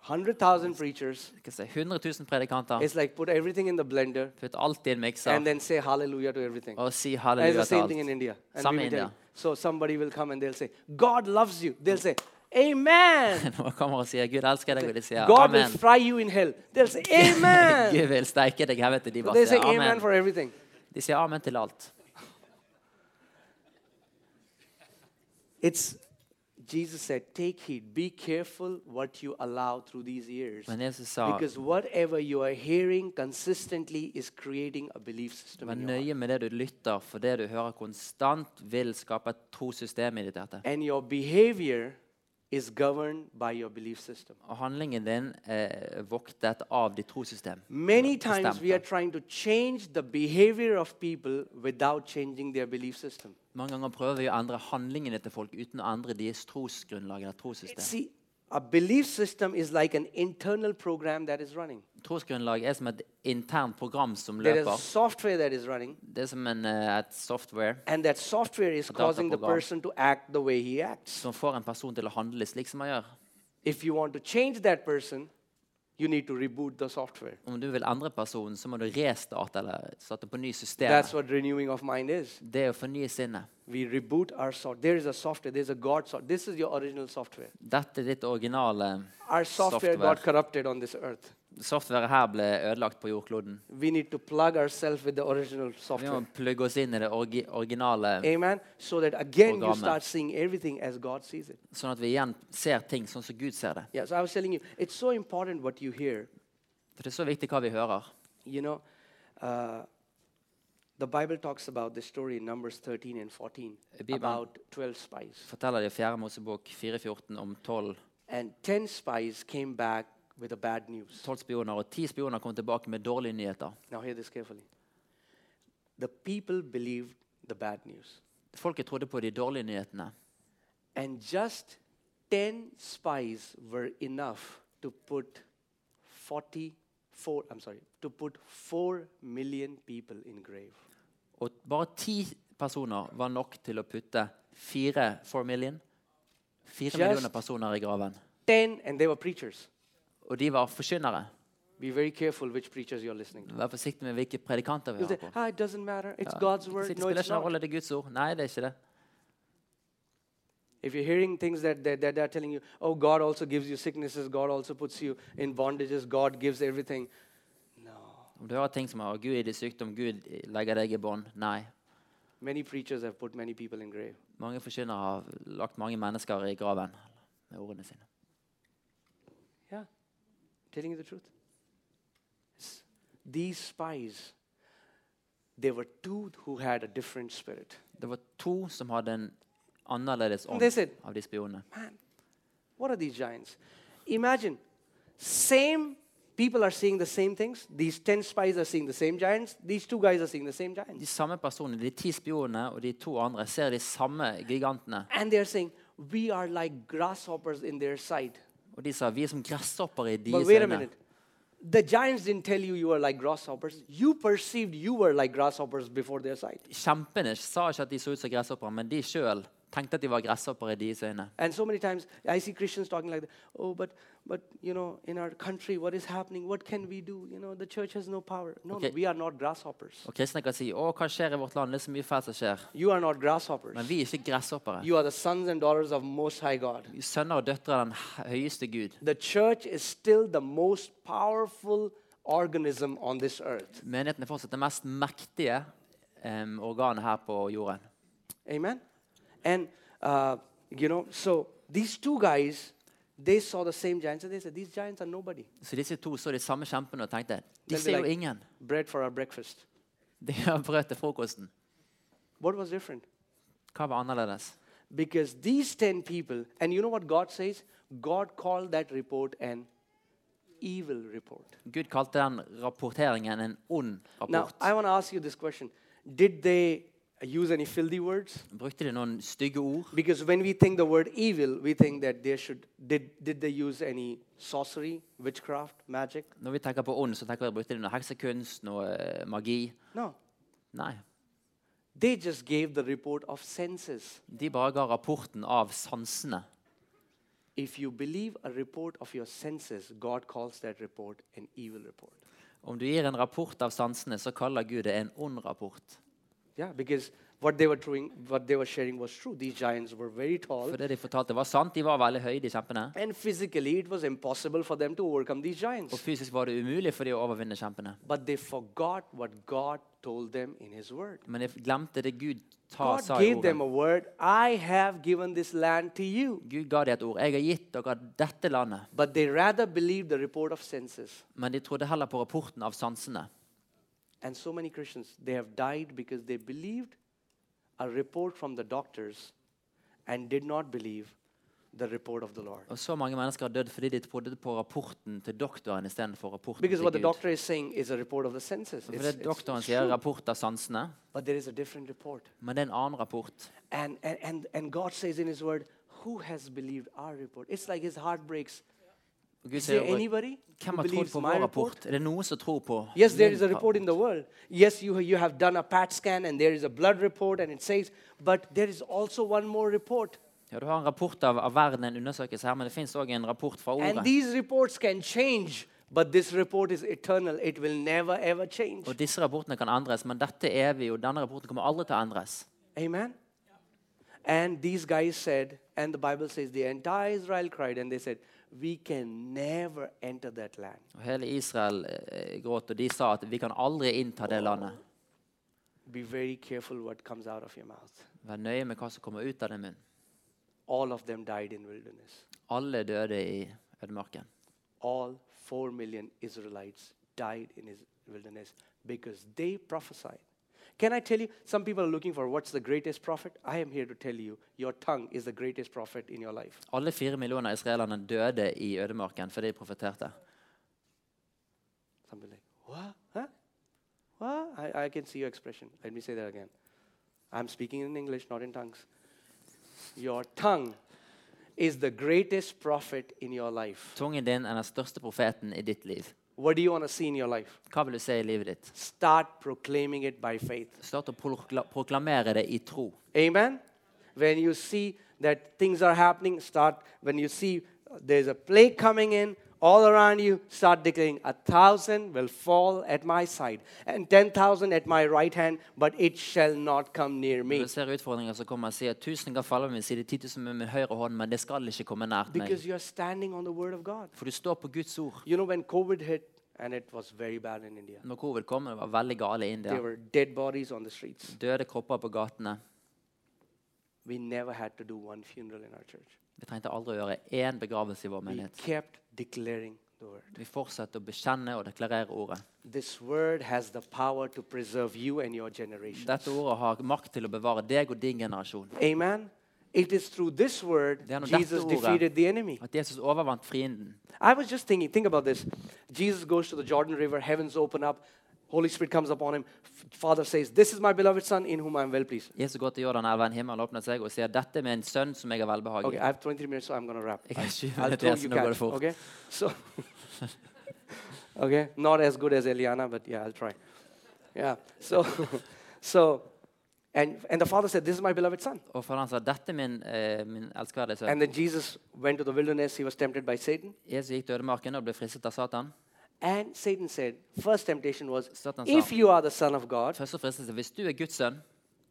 [SPEAKER 1] 100,000 preachers.
[SPEAKER 2] Skal jeg si, 100 000 predikanter.
[SPEAKER 1] It's like put everything in the blender
[SPEAKER 2] Putt alt i en mikser
[SPEAKER 1] and then say hallelujah to everything.
[SPEAKER 2] og si
[SPEAKER 1] And
[SPEAKER 2] halleluja
[SPEAKER 1] it's the
[SPEAKER 2] til
[SPEAKER 1] same thing in
[SPEAKER 2] alt.
[SPEAKER 1] India. And
[SPEAKER 2] Some
[SPEAKER 1] we will
[SPEAKER 2] India.
[SPEAKER 1] tell- so somebody will come and they'll say, God loves you. They'll say,
[SPEAKER 2] [LAUGHS]
[SPEAKER 1] Amen.
[SPEAKER 2] Når man kommer og sier 'Gud elsker deg', og de sier
[SPEAKER 1] God will
[SPEAKER 2] 'Amen'.
[SPEAKER 1] fry you in hell. They'll
[SPEAKER 2] [LAUGHS]
[SPEAKER 1] say, Amen.
[SPEAKER 2] Gud vil steike deg i helvete. De
[SPEAKER 1] So
[SPEAKER 2] bare
[SPEAKER 1] they say
[SPEAKER 2] sier
[SPEAKER 1] amen
[SPEAKER 2] amen.
[SPEAKER 1] for everything.
[SPEAKER 2] De sier amen til alt.
[SPEAKER 1] It's Jesus said, Take heed, be careful what you allow through these ears.
[SPEAKER 2] Men Jesus sa
[SPEAKER 1] Because whatever you are hearing consistently is creating a belief system.
[SPEAKER 2] Vær
[SPEAKER 1] In your heart.
[SPEAKER 2] nøye med det du lytter, for det du hører konstant, vil skape et trossystem i ditt hjerte.
[SPEAKER 1] And your behavior is governed by your belief system.
[SPEAKER 2] Og handlingen din eh, er voktet av ditt trossystem.
[SPEAKER 1] Many times we
[SPEAKER 2] Bestemte.
[SPEAKER 1] are trying to change the behavior of people without changing their belief system.
[SPEAKER 2] Mange ganger prøver vi å endre handlingene til folk uten å endre deres trosgrunnlag eller trossystem.
[SPEAKER 1] See, a belief system is like an internal program that is running.
[SPEAKER 2] Trosgrunnlag er som et internt program som
[SPEAKER 1] There is
[SPEAKER 2] løper.
[SPEAKER 1] software that is running,
[SPEAKER 2] Det er som en, eh, et software
[SPEAKER 1] and that software is causing the
[SPEAKER 2] dataprogram.
[SPEAKER 1] person to act the way he acts.
[SPEAKER 2] som får en person til å handle slik som han gjør.
[SPEAKER 1] If you want to change that person, you need to reboot the software.
[SPEAKER 2] Om du vil endre personen, så må du restarte eller starte på ny system.
[SPEAKER 1] That's what renewing of mind is.
[SPEAKER 2] Det er å fornye sinnet.
[SPEAKER 1] We reboot our software. There is a software, there's a God software. This is your original software.
[SPEAKER 2] Dette er ditt originale
[SPEAKER 1] Our software got
[SPEAKER 2] software.
[SPEAKER 1] corrupted on this earth.
[SPEAKER 2] Softværet her ble ødelagt på jordkloden.
[SPEAKER 1] We need to plug ourselves with the original
[SPEAKER 2] Vi
[SPEAKER 1] software.
[SPEAKER 2] må plugge oss inn i det orgi originale,
[SPEAKER 1] Amen. So that again you
[SPEAKER 2] Programmet.
[SPEAKER 1] start seeing everything as God sees it.
[SPEAKER 2] sånn at vi igjen ser ting sånn som Gud ser det.
[SPEAKER 1] Yeah, so I was telling you, it's so important what you hear.
[SPEAKER 2] For det er så viktig hva vi hører.
[SPEAKER 1] You know, uh, The Bible talks about this story in Numbers 13 and 14
[SPEAKER 2] Bibelen-
[SPEAKER 1] about 12 spies.
[SPEAKER 2] forteller det i 4. Mosebok 4.14 om 12,
[SPEAKER 1] And 10 spies came back with the bad news.
[SPEAKER 2] 12 spioner, og 10 spioner kom tilbake med dårlige nyheter.
[SPEAKER 1] Now, hear this carefully. The people believed the bad news.
[SPEAKER 2] Folket trodde på de dårlige nyhetene.
[SPEAKER 1] And just 10 spies were enough to put 44, I'm sorry, to put 4 million people in grave.
[SPEAKER 2] Og bare ti personer var nok til å putte fire four million, fire
[SPEAKER 1] Just-
[SPEAKER 2] millioner personer i graven.
[SPEAKER 1] 10, and they were preachers.
[SPEAKER 2] Og de var forkynnere.
[SPEAKER 1] Be very careful which preachers you're listening to.
[SPEAKER 2] Vær forsiktig med hvilke predikanter vi
[SPEAKER 1] You'll say,
[SPEAKER 2] har på.
[SPEAKER 1] ah, it doesn't matter. It's God's
[SPEAKER 2] Det
[SPEAKER 1] word. No,
[SPEAKER 2] spiller
[SPEAKER 1] it's
[SPEAKER 2] ikke noen
[SPEAKER 1] not.
[SPEAKER 2] rolle, det er Guds ord. Nei, det er ikke det.
[SPEAKER 1] If you're hearing things that, that, that they're telling you, oh, God also gives you sicknesses, God also puts you in bondages, God gives everything. No.
[SPEAKER 2] Om du hører ting som har Gud i din sykdom, Gud legger deg i bånd. Nei.
[SPEAKER 1] Many preachers have put many people in grave.
[SPEAKER 2] Mange forkynnere har lagt mange mennesker i graven med ordene sine.
[SPEAKER 1] Yeah. Telling you the truth. S- These spies, there were two who had a different spirit.
[SPEAKER 2] Det var to som hadde en annerledes ånd
[SPEAKER 1] That's it.
[SPEAKER 2] av de spionene.
[SPEAKER 1] Man, what are these giants? Imagine, same people are seeing the same things. These 10 spies are seeing the same giants. These two guys are seeing the same giants.
[SPEAKER 2] De samme personene, de ti spionene og de to andre, ser de samme gigantene.
[SPEAKER 1] And they are saying, we are like grasshoppers in their sight.
[SPEAKER 2] Og de sa vi er som gresshopper i
[SPEAKER 1] But
[SPEAKER 2] deres
[SPEAKER 1] wait a
[SPEAKER 2] øyne.
[SPEAKER 1] minute. The giants didn't tell you you were like grasshoppers. You perceived you were like grasshoppers before their sight.
[SPEAKER 2] Kjempene sa ikke at de så ut som gresshoppere, men de sjøl tenkte at de var gresshoppere i deres øyne.
[SPEAKER 1] And so many times I see Christians talking like that. Oh, but but you know, in our country, what is happening? What can we do? You know, the church has no power. No,
[SPEAKER 2] Okay.
[SPEAKER 1] no we are not grasshoppers.
[SPEAKER 2] Og kristne kan si 'Å, hva skjer i vårt land? Det er så mye fælt som skjer.'
[SPEAKER 1] You are not grasshoppers.
[SPEAKER 2] Men vi er ikke gresshoppere.
[SPEAKER 1] You are the sons and daughters of Most High God.
[SPEAKER 2] Vi er Sønner og døtre av den høyeste Gud.
[SPEAKER 1] The church is still the most powerful organism on this earth.
[SPEAKER 2] Menigheten er fortsatt det mest mektige em, organet her på jorden.
[SPEAKER 1] Amen. And uh, you know, so these two guys, they saw the same giants, and they said, "These giants are nobody."
[SPEAKER 2] Så disse to så de samme kjempene og tenkte
[SPEAKER 1] Then
[SPEAKER 2] 'Disse
[SPEAKER 1] they
[SPEAKER 2] er jo
[SPEAKER 1] like,
[SPEAKER 2] ingen'. [LAUGHS]
[SPEAKER 1] Bread for our breakfast.
[SPEAKER 2] De har brød til frokosten.
[SPEAKER 1] What was different?
[SPEAKER 2] Hva var annerledes?
[SPEAKER 1] Because these 10 people, and you know what God says? God called that report an evil report.
[SPEAKER 2] Gud kalte den rapporteringen en ond
[SPEAKER 1] Now,
[SPEAKER 2] rapport.
[SPEAKER 1] I want to ask you this question Did they use any filthy words?
[SPEAKER 2] Brukte de noen stygge ord?
[SPEAKER 1] Because when we think the word evil, we think that they should. Did, did they use any sorcery, witchcraft, magic?
[SPEAKER 2] Når vi tenker på ond, så tenker vi brukte de noe heksekunst, noe eh, magi.
[SPEAKER 1] No.
[SPEAKER 2] Nei.
[SPEAKER 1] They just gave the report of senses.
[SPEAKER 2] De bare ga rapporten av sansene.
[SPEAKER 1] If you believe a report of your senses, God calls that report an evil report.
[SPEAKER 2] Om du gir en rapport av sansene, så kaller Gud det en ond rapport.
[SPEAKER 1] Yeah, because what they were doing, what they were sharing was true. These giants were very tall,
[SPEAKER 2] For det de fortalte, var sant. De var veldig høye, de kjempene.
[SPEAKER 1] and physically it was impossible for them to overcome these
[SPEAKER 2] Og
[SPEAKER 1] giants.
[SPEAKER 2] fysisk var det umulig for de å overvinne kjempene.
[SPEAKER 1] But they forgot what God told them in His Word.
[SPEAKER 2] Men de glemte det Gud ta,
[SPEAKER 1] God
[SPEAKER 2] sa i
[SPEAKER 1] gave
[SPEAKER 2] ordet.
[SPEAKER 1] them a word. I have given this land to you.
[SPEAKER 2] Gud ga dem et ord. 'Jeg har gitt dere dette landet.'
[SPEAKER 1] But they rather believed the report of senses.
[SPEAKER 2] Men de trodde heller på rapporten av sansene.
[SPEAKER 1] And so many Christians, they have died because they believed a report from the doctors and did not believe the report of the Lord.
[SPEAKER 2] Og så mange mennesker har dødd fordi de trodde på rapporten til doktoren istedenfor rapporten
[SPEAKER 1] Because
[SPEAKER 2] til
[SPEAKER 1] what the
[SPEAKER 2] Gud.
[SPEAKER 1] doctor is saying is a report of the senses.
[SPEAKER 2] For
[SPEAKER 1] It's-
[SPEAKER 2] det
[SPEAKER 1] it's-
[SPEAKER 2] doktoren
[SPEAKER 1] it's
[SPEAKER 2] sier,
[SPEAKER 1] true.
[SPEAKER 2] rapport av sansene,
[SPEAKER 1] But there is a different report.
[SPEAKER 2] men det er en annen rapport.
[SPEAKER 1] And, and, and, and God says in His Word, Who has believed our report? It's like His heart breaks.
[SPEAKER 2] Og Gud
[SPEAKER 1] Is
[SPEAKER 2] sier,
[SPEAKER 1] there
[SPEAKER 2] "Og
[SPEAKER 1] anybody who
[SPEAKER 2] hvem har trodd
[SPEAKER 1] believes
[SPEAKER 2] på
[SPEAKER 1] my
[SPEAKER 2] vår
[SPEAKER 1] report?
[SPEAKER 2] rapport? Er det noen som tror på
[SPEAKER 1] Yes, there
[SPEAKER 2] min
[SPEAKER 1] is a report in the world. Yes, you, you have done a PAT scan and there is a blood report and it says, but there is also one more report.
[SPEAKER 2] Ja, Du har en rapport av, av verden, en undersøkelse her, men det fins òg en rapport fra
[SPEAKER 1] And
[SPEAKER 2] ordet.
[SPEAKER 1] these reports can change, but this report is eternal. It will never, ever change.
[SPEAKER 2] Og disse rapportene kan endres, men dette er vi, og denne rapporten kommer aldri til å endres.
[SPEAKER 1] Amen? And these guys said, and the Bible says the entire Israel cried, and they said, We can never enter that land.
[SPEAKER 2] Og Hele Israel eh, gråt, og de sa at vi kan aldri innta det landet.
[SPEAKER 1] Be very careful what comes out of your mouth.
[SPEAKER 2] Vær nøye med hva som kommer ut av din munn.
[SPEAKER 1] All of them died in wilderness.
[SPEAKER 2] Alle døde i ødemarken.
[SPEAKER 1] all 4 million Israelites died in his wilderness because they prophesied. Can I tell you, some people are looking for what's the greatest prophet? I am here to tell you, your tongue is the greatest prophet in your life.
[SPEAKER 2] Alle fire millioner israelerne døde i ødemarken fordi de profeterte.
[SPEAKER 1] Something like, what? Huh? What? I, I can see your expression. Let me say that again. I'm speaking in English, not in tongues. Your tongue is the greatest prophet in your life.
[SPEAKER 2] Tungen din er den største profeten i ditt liv.
[SPEAKER 1] What do you want to see in your life?
[SPEAKER 2] Hva vil du se i livet ditt?
[SPEAKER 1] Start proclaiming it by faith.
[SPEAKER 2] Start å prokla proklamere det i tro.
[SPEAKER 1] Amen. When you see that things are happening, start. When you see there's a plague coming in all around you, start declaring, A thousand will fall at my side, and ten thousand at my right hand, but it shall not come near
[SPEAKER 2] Når
[SPEAKER 1] me.
[SPEAKER 2] du ser utfordringer, så kommer jeg og sier at tusen kan falle ved min side, 10 000 med min høyre hånd, men det skal ikke komme nært meg.
[SPEAKER 1] Because you are standing on the word of God.
[SPEAKER 2] For du står på Guds ord.
[SPEAKER 1] You know, when COVID hit, and it was very bad in India,
[SPEAKER 2] Når covid kom, det var veldig gale i India.
[SPEAKER 1] there were dead bodies on the streets.
[SPEAKER 2] Døde kropper på gatene.
[SPEAKER 1] We never had to do one funeral in our church.
[SPEAKER 2] Vi trengte aldri å gjøre én begravelse i vår
[SPEAKER 1] We
[SPEAKER 2] menighet.
[SPEAKER 1] kept declaring the word.
[SPEAKER 2] Vi fortsetter å bekjenne og deklarere ordet.
[SPEAKER 1] This word has the power to preserve you and your generation.
[SPEAKER 2] Dette ordet har makt til å bevare deg og din generasjon.
[SPEAKER 1] Amen. It is through this word
[SPEAKER 2] Det er når
[SPEAKER 1] Jesus
[SPEAKER 2] dette ordet-
[SPEAKER 1] defeated the enemy.
[SPEAKER 2] At Jesus overvant fienden.
[SPEAKER 1] I was just thinking, think about this. Jesus goes to the Jordan River, heavens open up, Holy Spirit comes upon him. F- Father says, This is my beloved Son in whom I am well pleased.
[SPEAKER 2] Jesus går til Jordanelven, himmelen åpnet seg, og sier dette er min sønn som jeg har velbehag
[SPEAKER 1] Okay,
[SPEAKER 2] i.
[SPEAKER 1] I have 23 minutes, so I'm going to wrap.
[SPEAKER 2] Jeg har 20 [LAUGHS]
[SPEAKER 1] I'll
[SPEAKER 2] minutter
[SPEAKER 1] throw
[SPEAKER 2] igjen,
[SPEAKER 1] you
[SPEAKER 2] så nå går det
[SPEAKER 1] catch.
[SPEAKER 2] fort.
[SPEAKER 1] Okay? So, okay, not as good as Eliana, but yeah, I'll try. Yeah. So, [LAUGHS] so, and and the father said, "This is my beloved son."
[SPEAKER 2] Og faderen sa dette er min, eh, min elskverdige sønn.
[SPEAKER 1] And then Jesus went to the wilderness. He was tempted by Satan,
[SPEAKER 2] Jesus gikk til ødemarken og ble fristet av Satan.
[SPEAKER 1] and Satan said, first temptation was,
[SPEAKER 2] Satan sa,
[SPEAKER 1] "If you are the son of God,
[SPEAKER 2] første fristelse, hvis du er Guds sønn,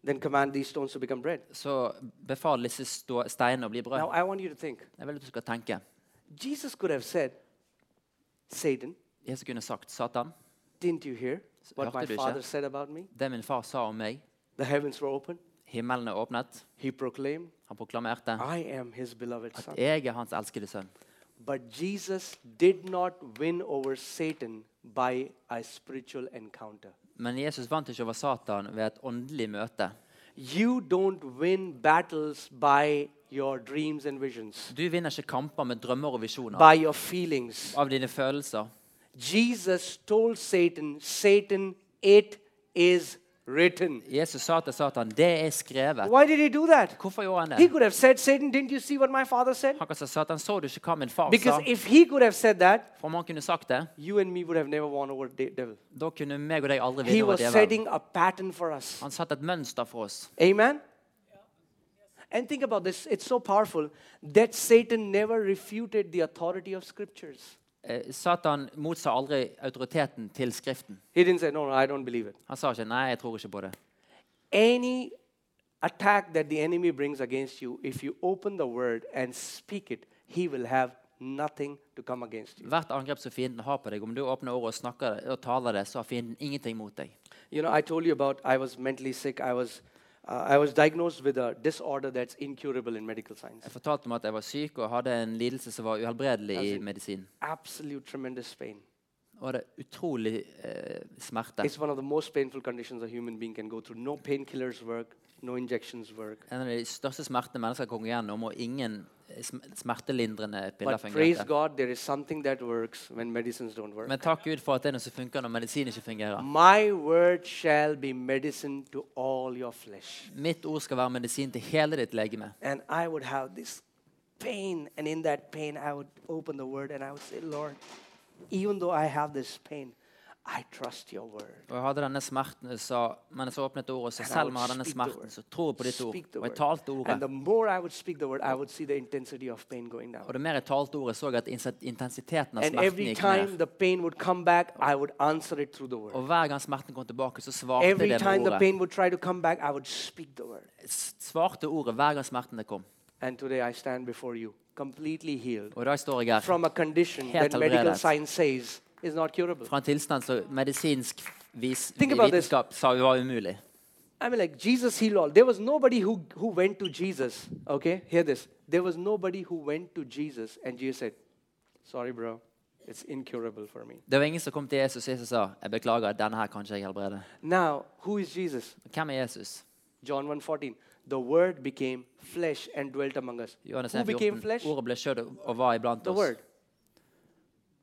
[SPEAKER 1] then command these stones to become bread."
[SPEAKER 2] så befal disse stå- steinene å bli
[SPEAKER 1] Now
[SPEAKER 2] brød.
[SPEAKER 1] I want you to think.
[SPEAKER 2] Jeg vil at du skal tenke.
[SPEAKER 1] Jesus could have said, "Satan,
[SPEAKER 2] Jesus kunne sagt, Satan,
[SPEAKER 1] didn't you hear what
[SPEAKER 2] Hørte
[SPEAKER 1] my
[SPEAKER 2] du ikke?
[SPEAKER 1] father said about me?
[SPEAKER 2] det min far sa om meg,
[SPEAKER 1] The heavens were open.
[SPEAKER 2] himmelen er åpnet.
[SPEAKER 1] He proclaimed,
[SPEAKER 2] Han proklamerte,
[SPEAKER 1] "I am his beloved son."
[SPEAKER 2] jeg er hans elskede sønn.
[SPEAKER 1] But Jesus did not win over Satan by a spiritual encounter.
[SPEAKER 2] Men Jesus vant ikke over Satan ved et åndelig møte.
[SPEAKER 1] You don't win battles by your dreams and visions,
[SPEAKER 2] Du vinner ikke kamper med drømmer og visjoner.
[SPEAKER 1] by your feelings.
[SPEAKER 2] Av dine følelser.
[SPEAKER 1] Jesus told Satan, Satan, it is written.
[SPEAKER 2] Jesus sa til Satan, det er skrevet.
[SPEAKER 1] Why did he do that?
[SPEAKER 2] Hvorfor gjorde han
[SPEAKER 1] He
[SPEAKER 2] det?
[SPEAKER 1] could have said, Satan, didn't you see what my father said?
[SPEAKER 2] Han kan si, Satan, så du ikke hva min far sa?
[SPEAKER 1] Because if he could have said that,
[SPEAKER 2] For om han kunne sagt det,
[SPEAKER 1] you and me would have never won over the devil.
[SPEAKER 2] da kunne meg og deg aldri
[SPEAKER 1] He
[SPEAKER 2] vinne over
[SPEAKER 1] was
[SPEAKER 2] djevelen.
[SPEAKER 1] setting a pattern for us.
[SPEAKER 2] Han satte et mønster for oss.
[SPEAKER 1] Amen? And think about this, it's so powerful that Satan never refuted the authority of scriptures.
[SPEAKER 2] Eh, Satan motsa aldri autoriteten til Skriften.
[SPEAKER 1] He didn't say, No, no, I don't believe it.
[SPEAKER 2] Han sa ikke 'nei, jeg tror ikke på det'.
[SPEAKER 1] Any attack that the enemy brings against you, if you open the word and speak it, he will have nothing to come against you.
[SPEAKER 2] Hvert angrep som fienden har på deg, om du åpner ordet og snakker det, og taler det, så har fienden ingenting mot deg.
[SPEAKER 1] You know, I told you about I was mentally sick. I was, uh, I was diagnosed with a disorder that's incurable in medical science.
[SPEAKER 2] Jeg fortalte om at jeg var syk og hadde en lidelse som var uhelbredelig
[SPEAKER 1] Altså-
[SPEAKER 2] i medisin.
[SPEAKER 1] Absolute tremendous pain.
[SPEAKER 2] Og det er utrolig eh, smerte.
[SPEAKER 1] It's one of the most painful conditions a human being can go through. No painkillers work, no injections work.
[SPEAKER 2] En av de største smertene mennesker kan gå gjennom, og ingen eh, sm- smertelindrende piller
[SPEAKER 1] But praise
[SPEAKER 2] fungerer.
[SPEAKER 1] God, there is something that works when medicines don't work.
[SPEAKER 2] Men takk Gud for at det er noe som funker når medisin ikke fungerer.
[SPEAKER 1] My word shall be medicine to all your flesh.
[SPEAKER 2] Mitt ord skal være medisin til hele ditt legeme.
[SPEAKER 1] And I would have this pain, and in that pain, I would open the word and I would say, Lord, even though I have this pain, I trust your word.
[SPEAKER 2] Og jeg hadde denne smerten, jeg sa, men så åpnet ordet, og sa,
[SPEAKER 1] And I
[SPEAKER 2] selv om
[SPEAKER 1] would
[SPEAKER 2] jeg hadde denne
[SPEAKER 1] speak the
[SPEAKER 2] smerten,
[SPEAKER 1] word.
[SPEAKER 2] så tror jeg på ditt ord.
[SPEAKER 1] Speak the
[SPEAKER 2] Og jeg
[SPEAKER 1] word.
[SPEAKER 2] talte
[SPEAKER 1] And the
[SPEAKER 2] ordet.
[SPEAKER 1] more I would speak the word, I would see the intensity of pain going down.
[SPEAKER 2] Og det mer jeg talte ordet, så jeg at inse- intensiteten av
[SPEAKER 1] And
[SPEAKER 2] smerten
[SPEAKER 1] every
[SPEAKER 2] gikk
[SPEAKER 1] time
[SPEAKER 2] ned.
[SPEAKER 1] the pain would come back, I would answer it through the word.
[SPEAKER 2] Og hver gang smerten kom tilbake, så svarte
[SPEAKER 1] Every
[SPEAKER 2] det
[SPEAKER 1] time
[SPEAKER 2] med
[SPEAKER 1] the
[SPEAKER 2] ordet.
[SPEAKER 1] pain would try to come back, I would speak the word.
[SPEAKER 2] S- Svarte ordet hver gang smerten det kom.
[SPEAKER 1] And today I stand before you, completely healed
[SPEAKER 2] Og i dag står jeg her
[SPEAKER 1] from a condition
[SPEAKER 2] Helt
[SPEAKER 1] that medical
[SPEAKER 2] helbredet.
[SPEAKER 1] science says is not curable.
[SPEAKER 2] fra en tilstand som medisinsk vis,
[SPEAKER 1] Think about this.
[SPEAKER 2] vitenskap sa jo var umulig.
[SPEAKER 1] I mean, like Jesus healed all. There was nobody who, who went to Jesus. Okay, hear this. There was nobody who went to Jesus and Jesus said, Sorry, bro, It's incurable for me.
[SPEAKER 2] Det var ingen som kom til Jesus og Jesus sa jeg beklager, denne her kan ikke jeg helbrede.
[SPEAKER 1] Now, who is Jesus?
[SPEAKER 2] Hvem er Jesus?
[SPEAKER 1] John 1:14. The word became flesh and dwelt among us.
[SPEAKER 2] Johannes
[SPEAKER 1] Who
[SPEAKER 2] 1,
[SPEAKER 1] became
[SPEAKER 2] 14.
[SPEAKER 1] flesh?
[SPEAKER 2] Ordet ble kjøtt og var iblant
[SPEAKER 1] The
[SPEAKER 2] oss.
[SPEAKER 1] word.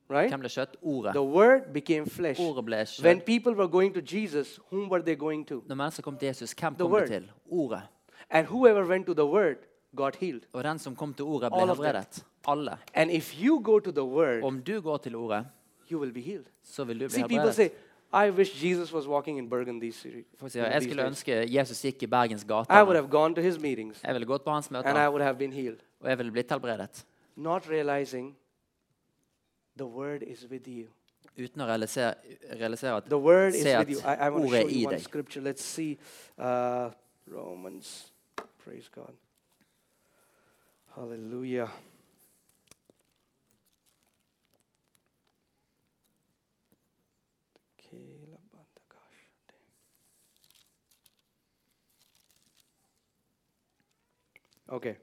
[SPEAKER 1] Right?
[SPEAKER 2] Hvem ble kjøtt? Ordet.
[SPEAKER 1] The word became flesh.
[SPEAKER 2] Ordet ble
[SPEAKER 1] When
[SPEAKER 2] kjøtt.
[SPEAKER 1] people were going to Jesus, whom were they going to?
[SPEAKER 2] Når mennesker kom til Jesus, hvem
[SPEAKER 1] The
[SPEAKER 2] kom de
[SPEAKER 1] word.
[SPEAKER 2] til? Ordet.
[SPEAKER 1] And whoever went to the word got healed.
[SPEAKER 2] Og den som kom til ordet, ble
[SPEAKER 1] All of them.
[SPEAKER 2] helbredet. Alle.
[SPEAKER 1] And if you go to the word,
[SPEAKER 2] Om du går til ordet,
[SPEAKER 1] you will be healed.
[SPEAKER 2] så vil du bli
[SPEAKER 1] See, people
[SPEAKER 2] helbredet.
[SPEAKER 1] say, I wish Jesus was walking in Bergen these streets.
[SPEAKER 2] Folk sier jeg skulle ønske Jesus gikk i Bergens
[SPEAKER 1] I would
[SPEAKER 2] gater.
[SPEAKER 1] have gone to his meetings
[SPEAKER 2] Jeg ville gått på hans
[SPEAKER 1] and I
[SPEAKER 2] møter,
[SPEAKER 1] would have been healed.
[SPEAKER 2] og jeg ville blitt helbredet.
[SPEAKER 1] Not realizing the word is with you.
[SPEAKER 2] Uten å realisere, realisere at
[SPEAKER 1] The word is
[SPEAKER 2] Se
[SPEAKER 1] with
[SPEAKER 2] at
[SPEAKER 1] you. I, I want to
[SPEAKER 2] ordet
[SPEAKER 1] show
[SPEAKER 2] er
[SPEAKER 1] you
[SPEAKER 2] i
[SPEAKER 1] one
[SPEAKER 2] deg.
[SPEAKER 1] scripture. Let's see uh, Romans. Praise God. Hallelujah. Okay.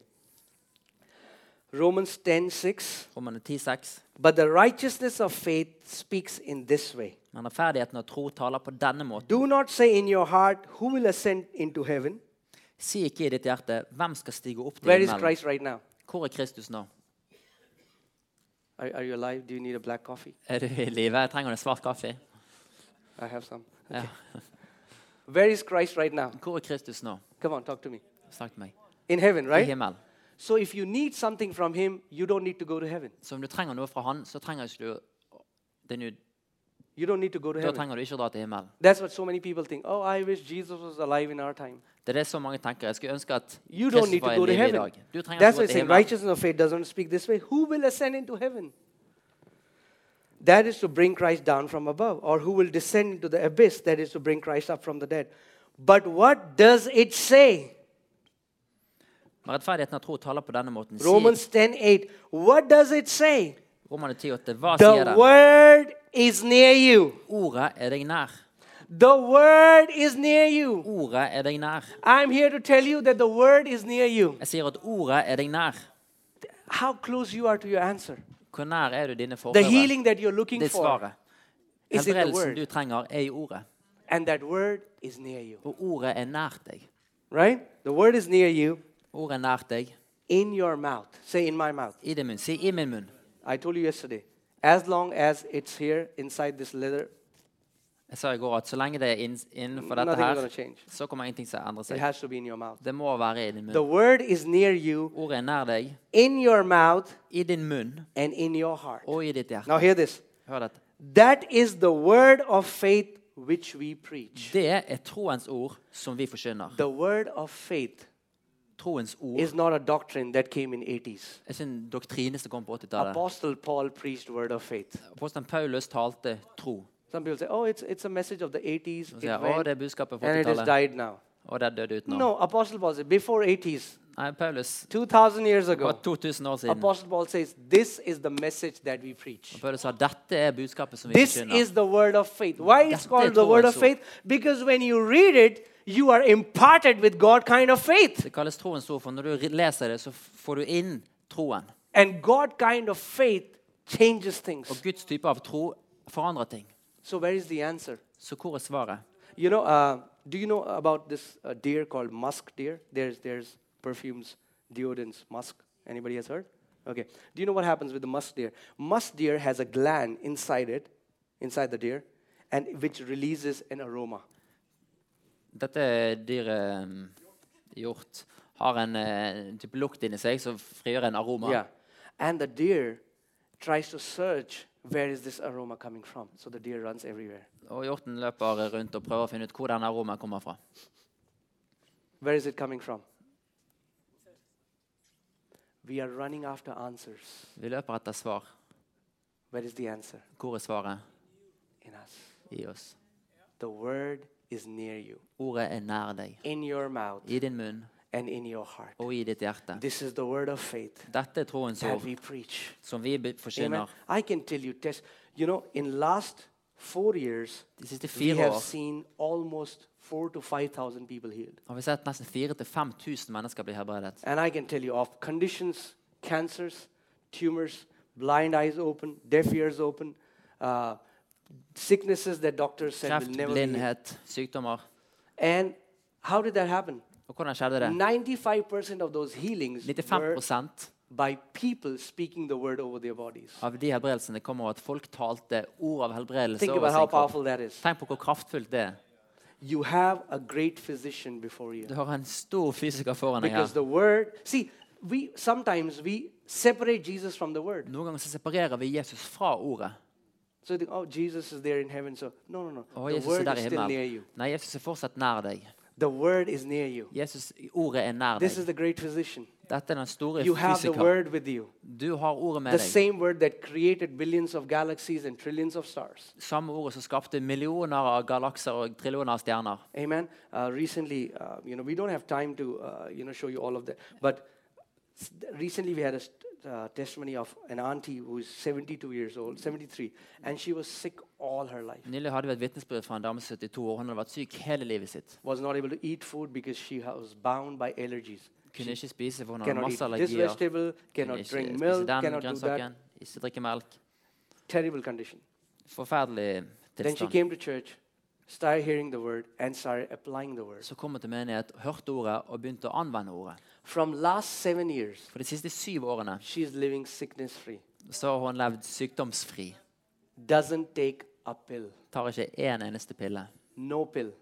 [SPEAKER 1] Romans 10:6
[SPEAKER 2] Romane 10,6
[SPEAKER 1] But the righteousness of faith speaks in this way.
[SPEAKER 2] Men rettferdigheten og tro taler på denne måten.
[SPEAKER 1] Do not say in your heart, Who will ascend into heaven?
[SPEAKER 2] Si ikke i ditt hjerte hvem skal stige opp til
[SPEAKER 1] Where is
[SPEAKER 2] himmelen.
[SPEAKER 1] Christ right now?
[SPEAKER 2] Hvor er Kristus nå?
[SPEAKER 1] Are, are you alive? Do you need a black coffee?
[SPEAKER 2] Er du i live? Trenger du en svart kaffe?
[SPEAKER 1] I have some.
[SPEAKER 2] Ja.
[SPEAKER 1] Where is Christ right now?
[SPEAKER 2] Hvor er Kristus nå?
[SPEAKER 1] Come on, talk to me.
[SPEAKER 2] Snakk til meg.
[SPEAKER 1] In heaven,
[SPEAKER 2] I
[SPEAKER 1] right?
[SPEAKER 2] himmelen.
[SPEAKER 1] So if you need something from Him, you don't need to go to heaven.
[SPEAKER 2] Så om du trenger noe fra Han, så trenger ikke du det nå.
[SPEAKER 1] You don't need to go to
[SPEAKER 2] Da
[SPEAKER 1] heaven.
[SPEAKER 2] trenger du ikke å dra til himmelen.
[SPEAKER 1] That's what so many people think. Oh, I wish Jesus was alive in our time.
[SPEAKER 2] Det er det så mange tenker. Jeg skulle ønske at
[SPEAKER 1] You don't
[SPEAKER 2] Kristus
[SPEAKER 1] need
[SPEAKER 2] var
[SPEAKER 1] to
[SPEAKER 2] i
[SPEAKER 1] go to
[SPEAKER 2] live i
[SPEAKER 1] heaven.
[SPEAKER 2] dag. Du trenger
[SPEAKER 1] That's why
[SPEAKER 2] ikke gå
[SPEAKER 1] it's
[SPEAKER 2] til
[SPEAKER 1] saying
[SPEAKER 2] himmelen.
[SPEAKER 1] righteousness of faith doesn't speak this way. Who will ascend into heaven? That is to bring Christ down from above, or who will descend into the abyss? That is to bring Christ up from the dead. But what does it say?
[SPEAKER 2] Men rettferdigheten og tro taler på denne måten. Si
[SPEAKER 1] Romans 10 8. What does it say?
[SPEAKER 2] Romane 10,8. Hva sier
[SPEAKER 1] The
[SPEAKER 2] den?
[SPEAKER 1] word is near you.
[SPEAKER 2] Ordet er deg nær.
[SPEAKER 1] The word is near you.
[SPEAKER 2] Ordet er deg nær.
[SPEAKER 1] I'm here to tell you that the word is near you.
[SPEAKER 2] Jeg sier at ordet er deg nær.
[SPEAKER 1] How close you are to your answer.
[SPEAKER 2] Hvor nær er du dine
[SPEAKER 1] The
[SPEAKER 2] forfedre?
[SPEAKER 1] healing that you're looking
[SPEAKER 2] Det er
[SPEAKER 1] for.
[SPEAKER 2] svaret.
[SPEAKER 1] is in the
[SPEAKER 2] Helbredelsen
[SPEAKER 1] word.
[SPEAKER 2] du trenger, er i ordet.
[SPEAKER 1] And that word is near you.
[SPEAKER 2] Og ordet er nært deg.
[SPEAKER 1] Right? The word is near you
[SPEAKER 2] Ordet er nært deg
[SPEAKER 1] in your mouth. Say in my mouth.
[SPEAKER 2] i din munn. Si i min munn.
[SPEAKER 1] I told you yesterday. As long as it's here inside this leather,
[SPEAKER 2] Jeg sa i går at så lenge det er inns- innenfor dette
[SPEAKER 1] nothing is going to
[SPEAKER 2] her,
[SPEAKER 1] change.
[SPEAKER 2] så kommer ingenting til å endre
[SPEAKER 1] It
[SPEAKER 2] seg.
[SPEAKER 1] has to be in your mouth.
[SPEAKER 2] Det må være i din
[SPEAKER 1] The
[SPEAKER 2] munn.
[SPEAKER 1] word is near you
[SPEAKER 2] Ordet er nær deg,
[SPEAKER 1] in your mouth
[SPEAKER 2] i din munn
[SPEAKER 1] and in your heart.
[SPEAKER 2] og i ditt hjerte.
[SPEAKER 1] Now hear this.
[SPEAKER 2] Hør dette.
[SPEAKER 1] That is the word of faith which we preach.
[SPEAKER 2] Det er troens ord som vi forkynner.
[SPEAKER 1] The word of faith
[SPEAKER 2] Troens ord
[SPEAKER 1] is not a doctrine that came in 80s.
[SPEAKER 2] er ikke en doktrine som kom på 80-tallet.
[SPEAKER 1] Apostle Paul preached word of faith.
[SPEAKER 2] Apostelen Paulus talte tro.
[SPEAKER 1] Some people say, "Oh, it's it's a message of the 80s."
[SPEAKER 2] Og
[SPEAKER 1] It
[SPEAKER 2] sier, å,
[SPEAKER 1] went,
[SPEAKER 2] det er budskapet fra
[SPEAKER 1] and it has
[SPEAKER 2] 80-tallet.
[SPEAKER 1] died now.
[SPEAKER 2] Og det er død ut nå.
[SPEAKER 1] No, Apostle Paul said before 80s,
[SPEAKER 2] Nei, Paulus
[SPEAKER 1] 2,000 years
[SPEAKER 2] var
[SPEAKER 1] ago,
[SPEAKER 2] 2000 år siden.
[SPEAKER 1] Apostle Paul says, This is the message that we preach.
[SPEAKER 2] Paulus sa dette er budskapet som vi
[SPEAKER 1] This
[SPEAKER 2] forkynner.
[SPEAKER 1] is the word of faith. Why it's
[SPEAKER 2] Dette
[SPEAKER 1] called the
[SPEAKER 2] tror
[SPEAKER 1] word
[SPEAKER 2] jeg
[SPEAKER 1] of
[SPEAKER 2] så.
[SPEAKER 1] faith? Because when you read it, you are imparted with God kind of faith.
[SPEAKER 2] Det kalles troens ord, for når du ri- leser det, så f- får du inn troen.
[SPEAKER 1] And God kind of faith changes
[SPEAKER 2] Og
[SPEAKER 1] things.
[SPEAKER 2] Guds type av tro forandrer ting.
[SPEAKER 1] So, where is the answer?
[SPEAKER 2] Så hvor er svaret?
[SPEAKER 1] You know, uh, do you know about this uh, deer called musk deer? There's there's perfumes, deodorants, musk. Anybody has heard? Okay. Do you know what happens with the musk deer? Musk deer has a gland inside it, inside the deer, and which releases an aroma.
[SPEAKER 2] Dette dyret um, hjort har en eh, en type lukt inni seg som frigjør en aroma.
[SPEAKER 1] Yeah. And the deer tries to search where is this aroma coming from. So the deer runs everywhere.
[SPEAKER 2] Og hjorten løper rundt og prøver å finne ut hvor den aromaen kommer fra.
[SPEAKER 1] Where is it coming from? We are running after answers.
[SPEAKER 2] Vi løper etter svar.
[SPEAKER 1] Where is the answer?
[SPEAKER 2] Hvor er svaret?
[SPEAKER 1] In us.
[SPEAKER 2] I oss.
[SPEAKER 1] The word is near you,
[SPEAKER 2] Ordet er nær deg.
[SPEAKER 1] in your mouth
[SPEAKER 2] I din munn
[SPEAKER 1] and in your heart.
[SPEAKER 2] og i ditt hjerte.
[SPEAKER 1] This is the word of faith
[SPEAKER 2] Dette er troens
[SPEAKER 1] that
[SPEAKER 2] ord
[SPEAKER 1] we preach.
[SPEAKER 2] som vi be-
[SPEAKER 1] Amen.
[SPEAKER 2] forkynner.
[SPEAKER 1] I can tell you, test. You know, in last four years,
[SPEAKER 2] De siste
[SPEAKER 1] we
[SPEAKER 2] fire
[SPEAKER 1] have
[SPEAKER 2] år
[SPEAKER 1] seen almost four to five thousand people healed.
[SPEAKER 2] har vi sett nesten 4000-5000 mennesker bli helbredet.
[SPEAKER 1] And I can tell you of conditions, cancers, tumors, blind eyes open, deaf ears open, uh, sicknesses that doctors said
[SPEAKER 2] Kreft,
[SPEAKER 1] will never be. healed.
[SPEAKER 2] blindhet, sykdommer.
[SPEAKER 1] And how did that happen?
[SPEAKER 2] Og hvordan skjedde det?
[SPEAKER 1] 95% of those healings were
[SPEAKER 2] 95
[SPEAKER 1] by people speaking the word over their bodies.
[SPEAKER 2] av de helbredelsene kom av at folk talte ord av helbredelse
[SPEAKER 1] Think
[SPEAKER 2] over
[SPEAKER 1] about how
[SPEAKER 2] sin kropp.
[SPEAKER 1] powerful that is.
[SPEAKER 2] Tenk på hvor kraftfullt det er.
[SPEAKER 1] You have a great physician before you.
[SPEAKER 2] Du har en stor fysiker foran deg
[SPEAKER 1] Because
[SPEAKER 2] her.
[SPEAKER 1] the word, see, we sometimes we separate Jesus from the word.
[SPEAKER 2] Noen ganger så separerer vi Jesus fra ordet.
[SPEAKER 1] So you think, oh, Jesus is there in heaven. So no, no,
[SPEAKER 2] Å,
[SPEAKER 1] no. The
[SPEAKER 2] Jesus er
[SPEAKER 1] word
[SPEAKER 2] der
[SPEAKER 1] is
[SPEAKER 2] i
[SPEAKER 1] still near you.
[SPEAKER 2] himmelen. Nei, Jesus er fortsatt nær deg.
[SPEAKER 1] The word is near you.
[SPEAKER 2] Jesus, Ordet er nær
[SPEAKER 1] This
[SPEAKER 2] deg.
[SPEAKER 1] is the great physician.
[SPEAKER 2] Dette er den store
[SPEAKER 1] You have the
[SPEAKER 2] fysiker.
[SPEAKER 1] word with you.
[SPEAKER 2] Du har ordet
[SPEAKER 1] The
[SPEAKER 2] med deg.
[SPEAKER 1] same word that created billions of galaxies and trillions of stars.
[SPEAKER 2] Samme ordet som skapte millioner av galakser og trillioner av stjerner.
[SPEAKER 1] Amen. Uh, recently, uh, you know, we don't have time to, uh, you know, show you all of that. But s- recently, we had a st- uh, testimony of an auntie who is 72 years old, 73, and she was sick all her life.
[SPEAKER 2] Nylig hadde vi et vitnesbyrd fra en dame på 72 år. Hun hadde vært syk hele livet sitt.
[SPEAKER 1] Was not able to eat food because she ha- was bound by allergies.
[SPEAKER 2] Kunne ikke spise, for hun hadde
[SPEAKER 1] Cannot eat
[SPEAKER 2] masse
[SPEAKER 1] this
[SPEAKER 2] allergier.
[SPEAKER 1] vegetable.
[SPEAKER 2] Kunne
[SPEAKER 1] Cannot
[SPEAKER 2] ikke
[SPEAKER 1] drink
[SPEAKER 2] spise
[SPEAKER 1] milk.
[SPEAKER 2] den
[SPEAKER 1] Cannot do that.
[SPEAKER 2] grønnsaken. Ikke drikke melk.
[SPEAKER 1] Terrible condition.
[SPEAKER 2] Forferdelig
[SPEAKER 1] Then she
[SPEAKER 2] tilstand.
[SPEAKER 1] came to church, started hearing the word, and started applying the word.
[SPEAKER 2] Så kom hun til menighet, hørte ordet og begynte å anvende ordet.
[SPEAKER 1] From last seven years,
[SPEAKER 2] For de siste syv årene
[SPEAKER 1] she is living sickness free.
[SPEAKER 2] så har hun levd sykdomsfri.
[SPEAKER 1] Doesn't take a pill.
[SPEAKER 2] Tar ikke én eneste pille.
[SPEAKER 1] No pill.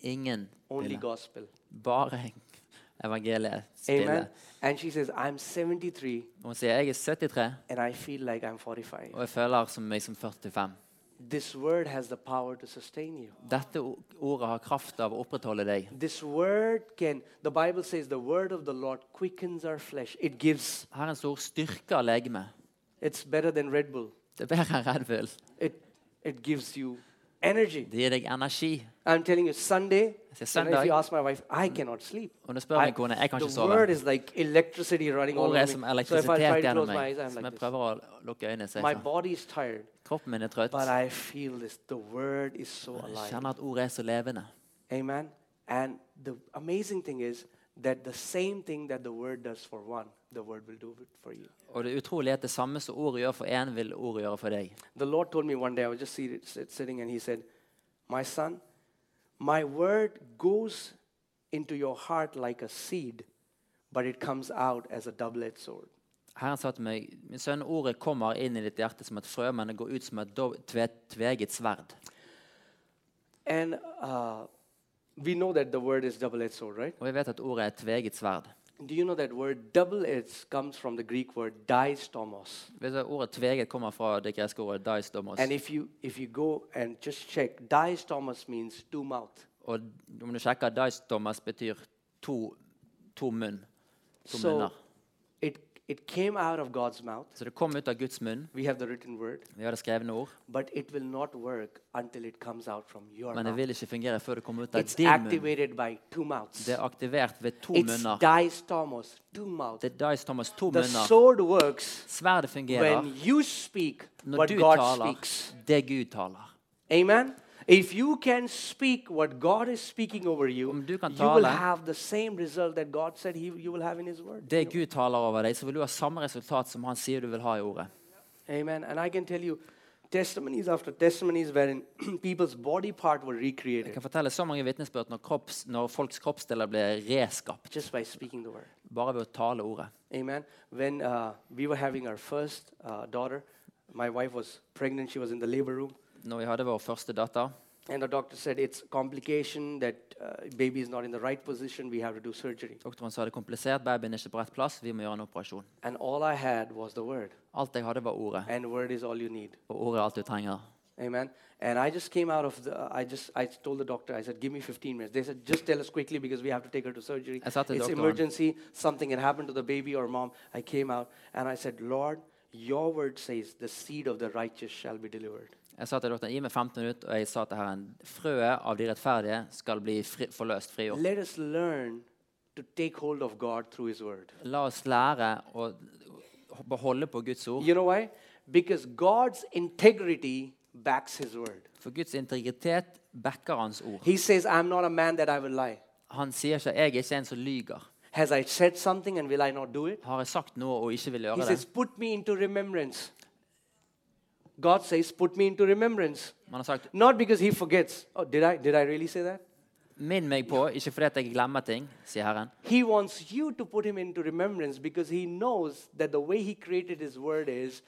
[SPEAKER 2] Ingen
[SPEAKER 1] Only
[SPEAKER 2] pille.
[SPEAKER 1] gospel.
[SPEAKER 2] Bare [LAUGHS] evangeliet
[SPEAKER 1] Amen.
[SPEAKER 2] pille.
[SPEAKER 1] And she says, I'm 73
[SPEAKER 2] Hun sier jeg er 73
[SPEAKER 1] and I feel like I'm 45.
[SPEAKER 2] og jeg føler som meg som 45.
[SPEAKER 1] This word has the power to sustain you.
[SPEAKER 2] Dette o- ordet har kraft av å opprettholde deg.
[SPEAKER 1] This word can, the Bible says, the word of the Lord quickens our flesh. It gives,
[SPEAKER 2] Herrens ord styrker legemet.
[SPEAKER 1] it's better than Red Bull.
[SPEAKER 2] Det er bedre enn Red Bull.
[SPEAKER 1] It, it gives you energy.
[SPEAKER 2] Det gir deg energi.
[SPEAKER 1] I'm telling you, Sunday,
[SPEAKER 2] It's a
[SPEAKER 1] you know, if
[SPEAKER 2] Sunday.
[SPEAKER 1] you ask my wife, I cannot sleep.
[SPEAKER 2] Og nå spør
[SPEAKER 1] I-
[SPEAKER 2] min kone jeg kan ikke
[SPEAKER 1] the
[SPEAKER 2] sove.
[SPEAKER 1] word is like electricity running all
[SPEAKER 2] Ordet er
[SPEAKER 1] over
[SPEAKER 2] som
[SPEAKER 1] me. So if I try
[SPEAKER 2] elektrisitet
[SPEAKER 1] to
[SPEAKER 2] gjennom
[SPEAKER 1] close my
[SPEAKER 2] meg.
[SPEAKER 1] eyes, I'm
[SPEAKER 2] Som
[SPEAKER 1] like
[SPEAKER 2] jeg
[SPEAKER 1] this.
[SPEAKER 2] prøver å lukke øynene så
[SPEAKER 1] My
[SPEAKER 2] jeg får-
[SPEAKER 1] body is tired,
[SPEAKER 2] Kroppen min er trøtt.
[SPEAKER 1] but
[SPEAKER 2] Jeg
[SPEAKER 1] I feel this. The word is so alive.
[SPEAKER 2] kjenner at ordet er så levende.
[SPEAKER 1] Amen. And the amazing thing is that the same thing that the word does for one, the word will do it for you.
[SPEAKER 2] Og det utrolige er at det samme som ordet gjør for én, vil ordet gjøre for deg.
[SPEAKER 1] The Lord told me one day, I was just seated, sit- sitting, and He said, My son, my word goes into your heart like a seed, but it comes out as a double edged sword.
[SPEAKER 2] Herren sa til meg, min sønn, ordet kommer inn i ditt hjerte som et frø, men det går ut som et dov- tve, tveget sverd.
[SPEAKER 1] And uh, we know that the word is double edged sword, right?
[SPEAKER 2] Og jeg vet at ordet er et tveget sverd.
[SPEAKER 1] Do you know that word double edged comes from the Greek word diastomos?
[SPEAKER 2] Vet du, ordet tveget kommer fra det greske ordet daistomos.
[SPEAKER 1] And if you if you go and just check, diastomos means two mouth.
[SPEAKER 2] Og om du sjekker, daistomos betyr to, to munn. To
[SPEAKER 1] So
[SPEAKER 2] munner.
[SPEAKER 1] it it came out of God's mouth.
[SPEAKER 2] Så det kom ut av Guds munn.
[SPEAKER 1] We have the written word,
[SPEAKER 2] Vi har det skrevne ord.
[SPEAKER 1] but it will not work until it comes out from your
[SPEAKER 2] Men det
[SPEAKER 1] mouth.
[SPEAKER 2] vil ikke fungere før det kommer ut av
[SPEAKER 1] It's
[SPEAKER 2] din munn.
[SPEAKER 1] activated by two mouths.
[SPEAKER 2] Det er aktivert ved to
[SPEAKER 1] It's
[SPEAKER 2] munner.
[SPEAKER 1] diastomos, two mouths.
[SPEAKER 2] Det er Dice Thomas to
[SPEAKER 1] The
[SPEAKER 2] munner.
[SPEAKER 1] sword works
[SPEAKER 2] Sverdet fungerer
[SPEAKER 1] when you speak
[SPEAKER 2] når
[SPEAKER 1] what
[SPEAKER 2] du
[SPEAKER 1] God
[SPEAKER 2] taler,
[SPEAKER 1] speaks.
[SPEAKER 2] det Gud taler.
[SPEAKER 1] Amen. If you can speak what God is speaking over you,
[SPEAKER 2] Om du kan
[SPEAKER 1] you will
[SPEAKER 2] tale-
[SPEAKER 1] have the same result that God said he, you will have in His word.
[SPEAKER 2] Det Gud taler over deg, så vil du ha samme resultat som han sier du vil ha i ordet.
[SPEAKER 1] Amen. And I can tell you testimonies after testimonies wherein [CLEARS THROAT] people's body part were
[SPEAKER 2] Jeg
[SPEAKER 1] recreated
[SPEAKER 2] kan fortelle så mange vitnesbyrd når, kropps, når folks kroppsdeler ble reskapt
[SPEAKER 1] just by speaking the word.
[SPEAKER 2] bare ved å tale ordet.
[SPEAKER 1] Amen. When uh, we were having our first uh, daughter, my wife was pregnant, she was in the labor room.
[SPEAKER 2] Når vi hadde vår første datter,
[SPEAKER 1] And the doctor said it's complication that uh, baby is not in the right position. We have to do surgery.
[SPEAKER 2] doktoren sa det er komplisert, babyen er ikke på rett plass, vi må gjøre en operasjon.
[SPEAKER 1] And all I had was the word.
[SPEAKER 2] Alt jeg hadde, var ordet.
[SPEAKER 1] And word is all you need.
[SPEAKER 2] Og ordet er alt du trenger.
[SPEAKER 1] Amen. And I just came out of the. I just. I told the doctor. I said, "Give me 15 minutes." They said, "Just tell us quickly because we have to take her to surgery.
[SPEAKER 2] I thought the
[SPEAKER 1] it's
[SPEAKER 2] doctor-
[SPEAKER 1] emergency. Something had happened to the baby or mom." I came out and I said, "Lord, Your word says the seed of the righteous shall be delivered."
[SPEAKER 2] Jeg sa til doktoren gi meg 15 minutter, og jeg sa til herren frøet av de rettferdige skal bli fri, forløst, frigjort.
[SPEAKER 1] Let us learn to take hold of God through His word.
[SPEAKER 2] La oss lære å beholde på Guds ord.
[SPEAKER 1] You know why? Because God's integrity backs His word.
[SPEAKER 2] For Guds integritet backer hans ord.
[SPEAKER 1] He says, "I'm not a man that I will lie."
[SPEAKER 2] Han sier ikke 'jeg er ikke en som lyger'.
[SPEAKER 1] Has I said something and will I not do it?
[SPEAKER 2] Har jeg sagt noe og ikke vil
[SPEAKER 1] He
[SPEAKER 2] gjøre det?
[SPEAKER 1] says, Put me into remembrance. God says, Put me into remembrance.
[SPEAKER 2] Man har sagt
[SPEAKER 1] Not because he forgets. Oh, did I, did I really say that?
[SPEAKER 2] 'minn meg på', ikke fordi at jeg glemmer ting, sier Herren.
[SPEAKER 1] He wants you to put him into remembrance because he knows that the way he created his word is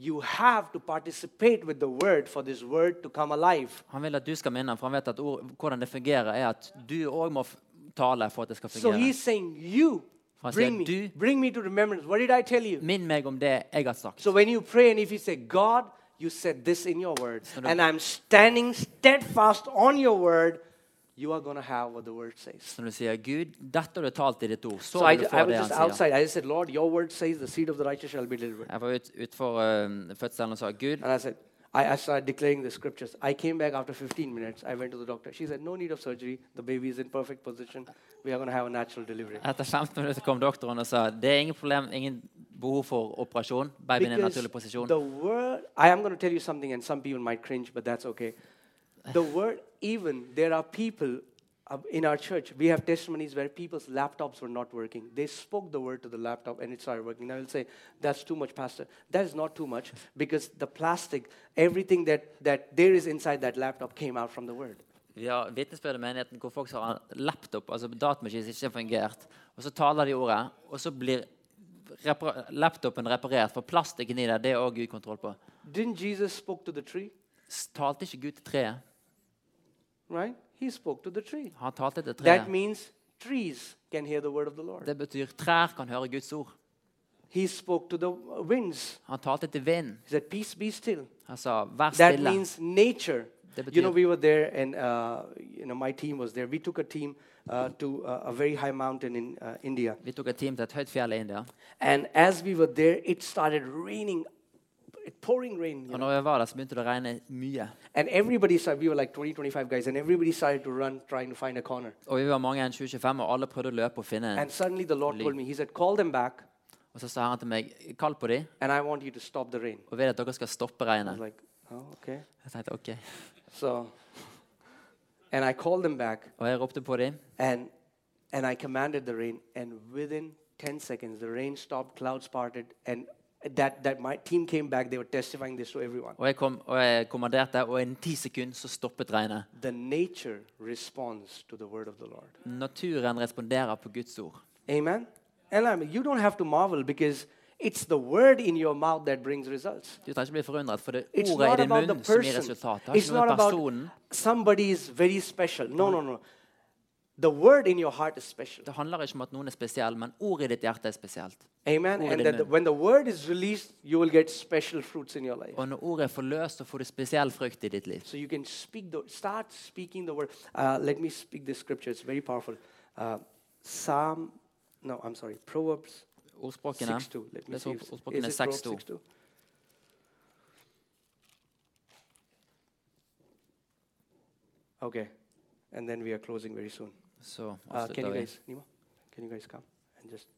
[SPEAKER 1] you have to participate with the word for this word to come alive.
[SPEAKER 2] Han vil at du skal minne ham, for han vet at ord, hvordan det fungerer, er at du òg må f tale for at det skal
[SPEAKER 1] So
[SPEAKER 2] fungere.
[SPEAKER 1] he's saying, You
[SPEAKER 2] Fast
[SPEAKER 1] bring
[SPEAKER 2] yet
[SPEAKER 1] me,
[SPEAKER 2] do-
[SPEAKER 1] bring me to remembrance. What did I tell you?
[SPEAKER 2] Minn meg om det jeg har sagt.
[SPEAKER 1] So when you pray and if you say, God, you said this in your word,
[SPEAKER 2] no.
[SPEAKER 1] and I'm standing steadfast on your word, you are going to have what the word says.
[SPEAKER 2] Så når du sier 'Gud, dette har du talt i ditt ord', så
[SPEAKER 1] So I,
[SPEAKER 2] vil du
[SPEAKER 1] I
[SPEAKER 2] få
[SPEAKER 1] was
[SPEAKER 2] det
[SPEAKER 1] just
[SPEAKER 2] han sier.
[SPEAKER 1] outside. I just said, Lord, your word says the seed of the righteous shall be delivered.
[SPEAKER 2] Jeg var ut, utfor eh, fødselen og sa 'Gud,
[SPEAKER 1] And I said, I, I started declaring the scriptures. I came back after 15 minutes. I went to the doctor. She said, No need of surgery. The baby is in perfect position. We are going to have a natural delivery.
[SPEAKER 2] Etter 15 minutter kom doktoren og sa det er ingen problem, ingen behov for operasjon. Babyen er i naturlig posisjon.
[SPEAKER 1] the word, I am going to tell you something, and some people might cringe, but that's okay. The word, even, there are people uh, in our church, we have testimonies where people's laptops were not working. They spoke the word to the laptop and it started working. Now you'll say, that's too much, Pastor. That is not too much because the plastic, everything that, that there is inside that laptop came out from the word.
[SPEAKER 2] Vi har vitnesbyrd i menigheten hvor folk har en laptop, altså datamaskin som ikke har fungert, og så taler de ordet, og så blir repara laptopen reparert, for plastikken i det, det er òg Gud kontroll på.
[SPEAKER 1] Didn't Jesus spoke to the tree?
[SPEAKER 2] S- Talte ikke Gud til treet?
[SPEAKER 1] Right? He spoke to the tree.
[SPEAKER 2] Han talte til
[SPEAKER 1] That
[SPEAKER 2] treet.
[SPEAKER 1] means trees can hear the word of the Lord.
[SPEAKER 2] Det betyr trær kan høre Guds ord.
[SPEAKER 1] He spoke to the winds.
[SPEAKER 2] Han talte til vinden.
[SPEAKER 1] He said, Peace be still.
[SPEAKER 2] Han sa 'vær
[SPEAKER 1] That
[SPEAKER 2] stille'.
[SPEAKER 1] means nature.
[SPEAKER 2] Det
[SPEAKER 1] You know,
[SPEAKER 2] betyr-
[SPEAKER 1] we were there, and uh, you know, my team was there. We took a team uh, to uh, a very high mountain in uh, India,
[SPEAKER 2] Vi tok et team til et høyt fjell i India.
[SPEAKER 1] and as we were there, it started raining, it pouring rain. you
[SPEAKER 2] Og
[SPEAKER 1] know.
[SPEAKER 2] når jeg var der, så begynte det å regne mye.
[SPEAKER 1] And everybody started. We were like 20, 25 guys, and everybody started to run, trying to find a corner.
[SPEAKER 2] Og vi var mange enn 2025, og alle prøvde å løpe og finne en.
[SPEAKER 1] And suddenly, the Lord told me, He said, "Call them back,
[SPEAKER 2] Og så sa Herren til meg, kall på dem,
[SPEAKER 1] and I want you to stop the rain."
[SPEAKER 2] og vil at dere skal stoppe
[SPEAKER 1] I was
[SPEAKER 2] regnet.
[SPEAKER 1] like, "Oh, okay."
[SPEAKER 2] Jeg tenkte, ok.
[SPEAKER 1] So, and I called them back,
[SPEAKER 2] Og jeg ropte på dem,
[SPEAKER 1] and and I commanded the rain, and within 10 seconds, the rain stopped, clouds parted, and that that my team came back. They were testifying this to everyone.
[SPEAKER 2] og jeg, kom, og jeg kommanderte, og innen ti sekunder så stoppet regnet.
[SPEAKER 1] The nature responds to the word of the Lord.
[SPEAKER 2] Naturen responderer på Guds ord.
[SPEAKER 1] Amen. And I mean, you don't have to marvel because it's the word in your mouth that brings results.
[SPEAKER 2] Du trenger ikke bli forundret, for det er
[SPEAKER 1] It's
[SPEAKER 2] ordet
[SPEAKER 1] not
[SPEAKER 2] i din
[SPEAKER 1] about the
[SPEAKER 2] munn som gir
[SPEAKER 1] person.
[SPEAKER 2] resultatet. Det har
[SPEAKER 1] It's
[SPEAKER 2] ikke noe
[SPEAKER 1] not
[SPEAKER 2] med
[SPEAKER 1] about
[SPEAKER 2] personen.
[SPEAKER 1] somebody is very special. No, no, no. The word in your heart is special.
[SPEAKER 2] Det handler ikke om at noen er spesiell, men ordet i ditt hjerte er spesielt.
[SPEAKER 1] Amen.
[SPEAKER 2] Ordet
[SPEAKER 1] And
[SPEAKER 2] i
[SPEAKER 1] that the-
[SPEAKER 2] munnen.
[SPEAKER 1] when the word is released, you will get special fruits in your life.
[SPEAKER 2] Og når ordet er forløst, så får du spesiell frukt i ditt liv.
[SPEAKER 1] So you can speak the start speaking the word. Uh, let me speak this scripture. It's very powerful. Uh, Psalm. No, I'm sorry. Proverbs
[SPEAKER 2] Ordspråkene,
[SPEAKER 1] six two. Let me
[SPEAKER 2] Les
[SPEAKER 1] see.
[SPEAKER 2] opp
[SPEAKER 1] if-
[SPEAKER 2] ordspråkene
[SPEAKER 1] is it
[SPEAKER 2] 6:2.
[SPEAKER 1] Proverbs 6:2? Okay, and then we are closing very soon.
[SPEAKER 2] så
[SPEAKER 1] Uh, can you
[SPEAKER 2] avslutter vi.
[SPEAKER 1] guys, Nima? Can you guys come and just?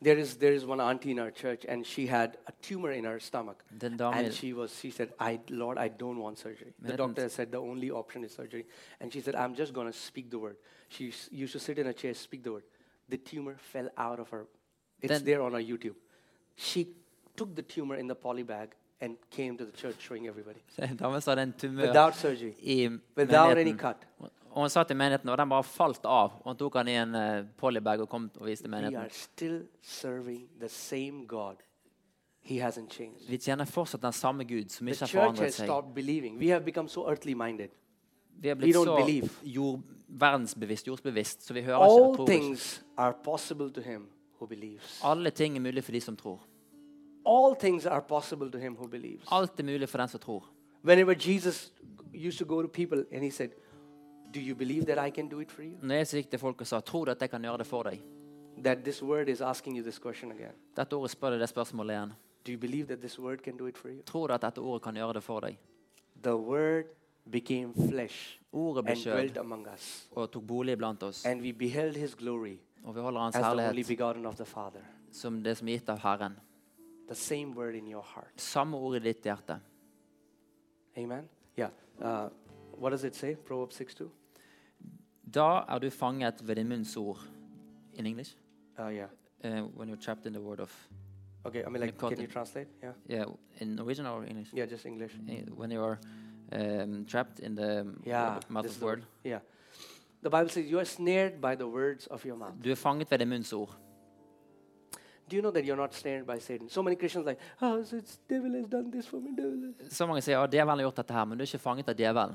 [SPEAKER 1] There is there is one auntie in our church, and she had a tumor in her stomach,
[SPEAKER 2] Den damen,
[SPEAKER 1] and she was she said, "I Lord, I don't want surgery." The
[SPEAKER 2] Madam.
[SPEAKER 1] doctor said the only option is surgery, and she said, "I'm just gonna speak the word." She s- used to sit in a chair, speak the word. The tumor fell out of her. It's
[SPEAKER 2] Then-
[SPEAKER 1] there on our YouTube. She took the tumor in the poly bag and came to the church showing everybody
[SPEAKER 2] den damen sa det er [LAUGHS] en tumør
[SPEAKER 1] without surgery,
[SPEAKER 2] i
[SPEAKER 1] without any
[SPEAKER 2] menigheten.
[SPEAKER 1] cut.
[SPEAKER 2] Og han satt i menigheten, og den bare falt av. Og han tok han i en eh, polybag og kom og viste
[SPEAKER 1] We are
[SPEAKER 2] menigheten.
[SPEAKER 1] still serving the same God. He hasn't changed.
[SPEAKER 2] Vi tjener fortsatt den samme Gud som
[SPEAKER 1] The
[SPEAKER 2] ikke har
[SPEAKER 1] church
[SPEAKER 2] forandret
[SPEAKER 1] has
[SPEAKER 2] seg.
[SPEAKER 1] stopped believing. We have become so earthly minded.
[SPEAKER 2] Vi er
[SPEAKER 1] we
[SPEAKER 2] blitt
[SPEAKER 1] don't
[SPEAKER 2] så
[SPEAKER 1] believe.
[SPEAKER 2] jord, verdensbevisst, jordsbevisst, så vi hører ikke og
[SPEAKER 1] All
[SPEAKER 2] tror ikke.
[SPEAKER 1] things are possible to him who believes.
[SPEAKER 2] Alle ting er mulig for de som tror.
[SPEAKER 1] All things are possible to him who believes.
[SPEAKER 2] Alt er mulig for den som tror.
[SPEAKER 1] Whenever Jesus used to go to people and he said, Do you believe that I can do it for you?
[SPEAKER 2] Når jeg så gikk til folk og sa 'Tror du at jeg kan gjøre det for deg?'
[SPEAKER 1] That this word is asking you this question again.
[SPEAKER 2] Dette ordet spør deg det spørsmålet igjen.
[SPEAKER 1] Do you believe that this word can do it for you?
[SPEAKER 2] Tror du at dette ordet kan gjøre det for deg?
[SPEAKER 1] The word became flesh
[SPEAKER 2] Ordet ble
[SPEAKER 1] and dwelt
[SPEAKER 2] kjød
[SPEAKER 1] among us.
[SPEAKER 2] og tok bolig blant oss.
[SPEAKER 1] And we beheld his glory
[SPEAKER 2] Og vi holder Hans
[SPEAKER 1] as the only
[SPEAKER 2] herlighet
[SPEAKER 1] begotten of the Father.
[SPEAKER 2] som det som er gitt av Herren.
[SPEAKER 1] the same word in your heart.
[SPEAKER 2] Samme ord i ditt hjerte.
[SPEAKER 1] Amen? Yeah. Uh, what does it say? Proverbs 6 2?
[SPEAKER 2] Da er du fanget ved din munns ord. In English?
[SPEAKER 1] Uh, yeah.
[SPEAKER 2] Eh, when you're trapped in the word of
[SPEAKER 1] Okay, I mean,
[SPEAKER 2] You
[SPEAKER 1] like,
[SPEAKER 2] caught
[SPEAKER 1] can you
[SPEAKER 2] it.
[SPEAKER 1] translate? Yeah.
[SPEAKER 2] Yeah, in Norwegian or English?
[SPEAKER 1] Yeah, just English.
[SPEAKER 2] Eh, When you are um, trapped in the
[SPEAKER 1] Yeah,
[SPEAKER 2] mouth
[SPEAKER 1] this
[SPEAKER 2] of
[SPEAKER 1] is what-
[SPEAKER 2] word.
[SPEAKER 1] Yeah. The Bible says you are snared by the words of your mouth.
[SPEAKER 2] Du er fanget ved din munns ord.
[SPEAKER 1] Do you know that you're not snared by Satan? So many Christians like, oh, so it's devil has done this for me, devil. has-"
[SPEAKER 2] Så mange sier at djevelen har gjort dette her, men du er ikke fanget av djevelen.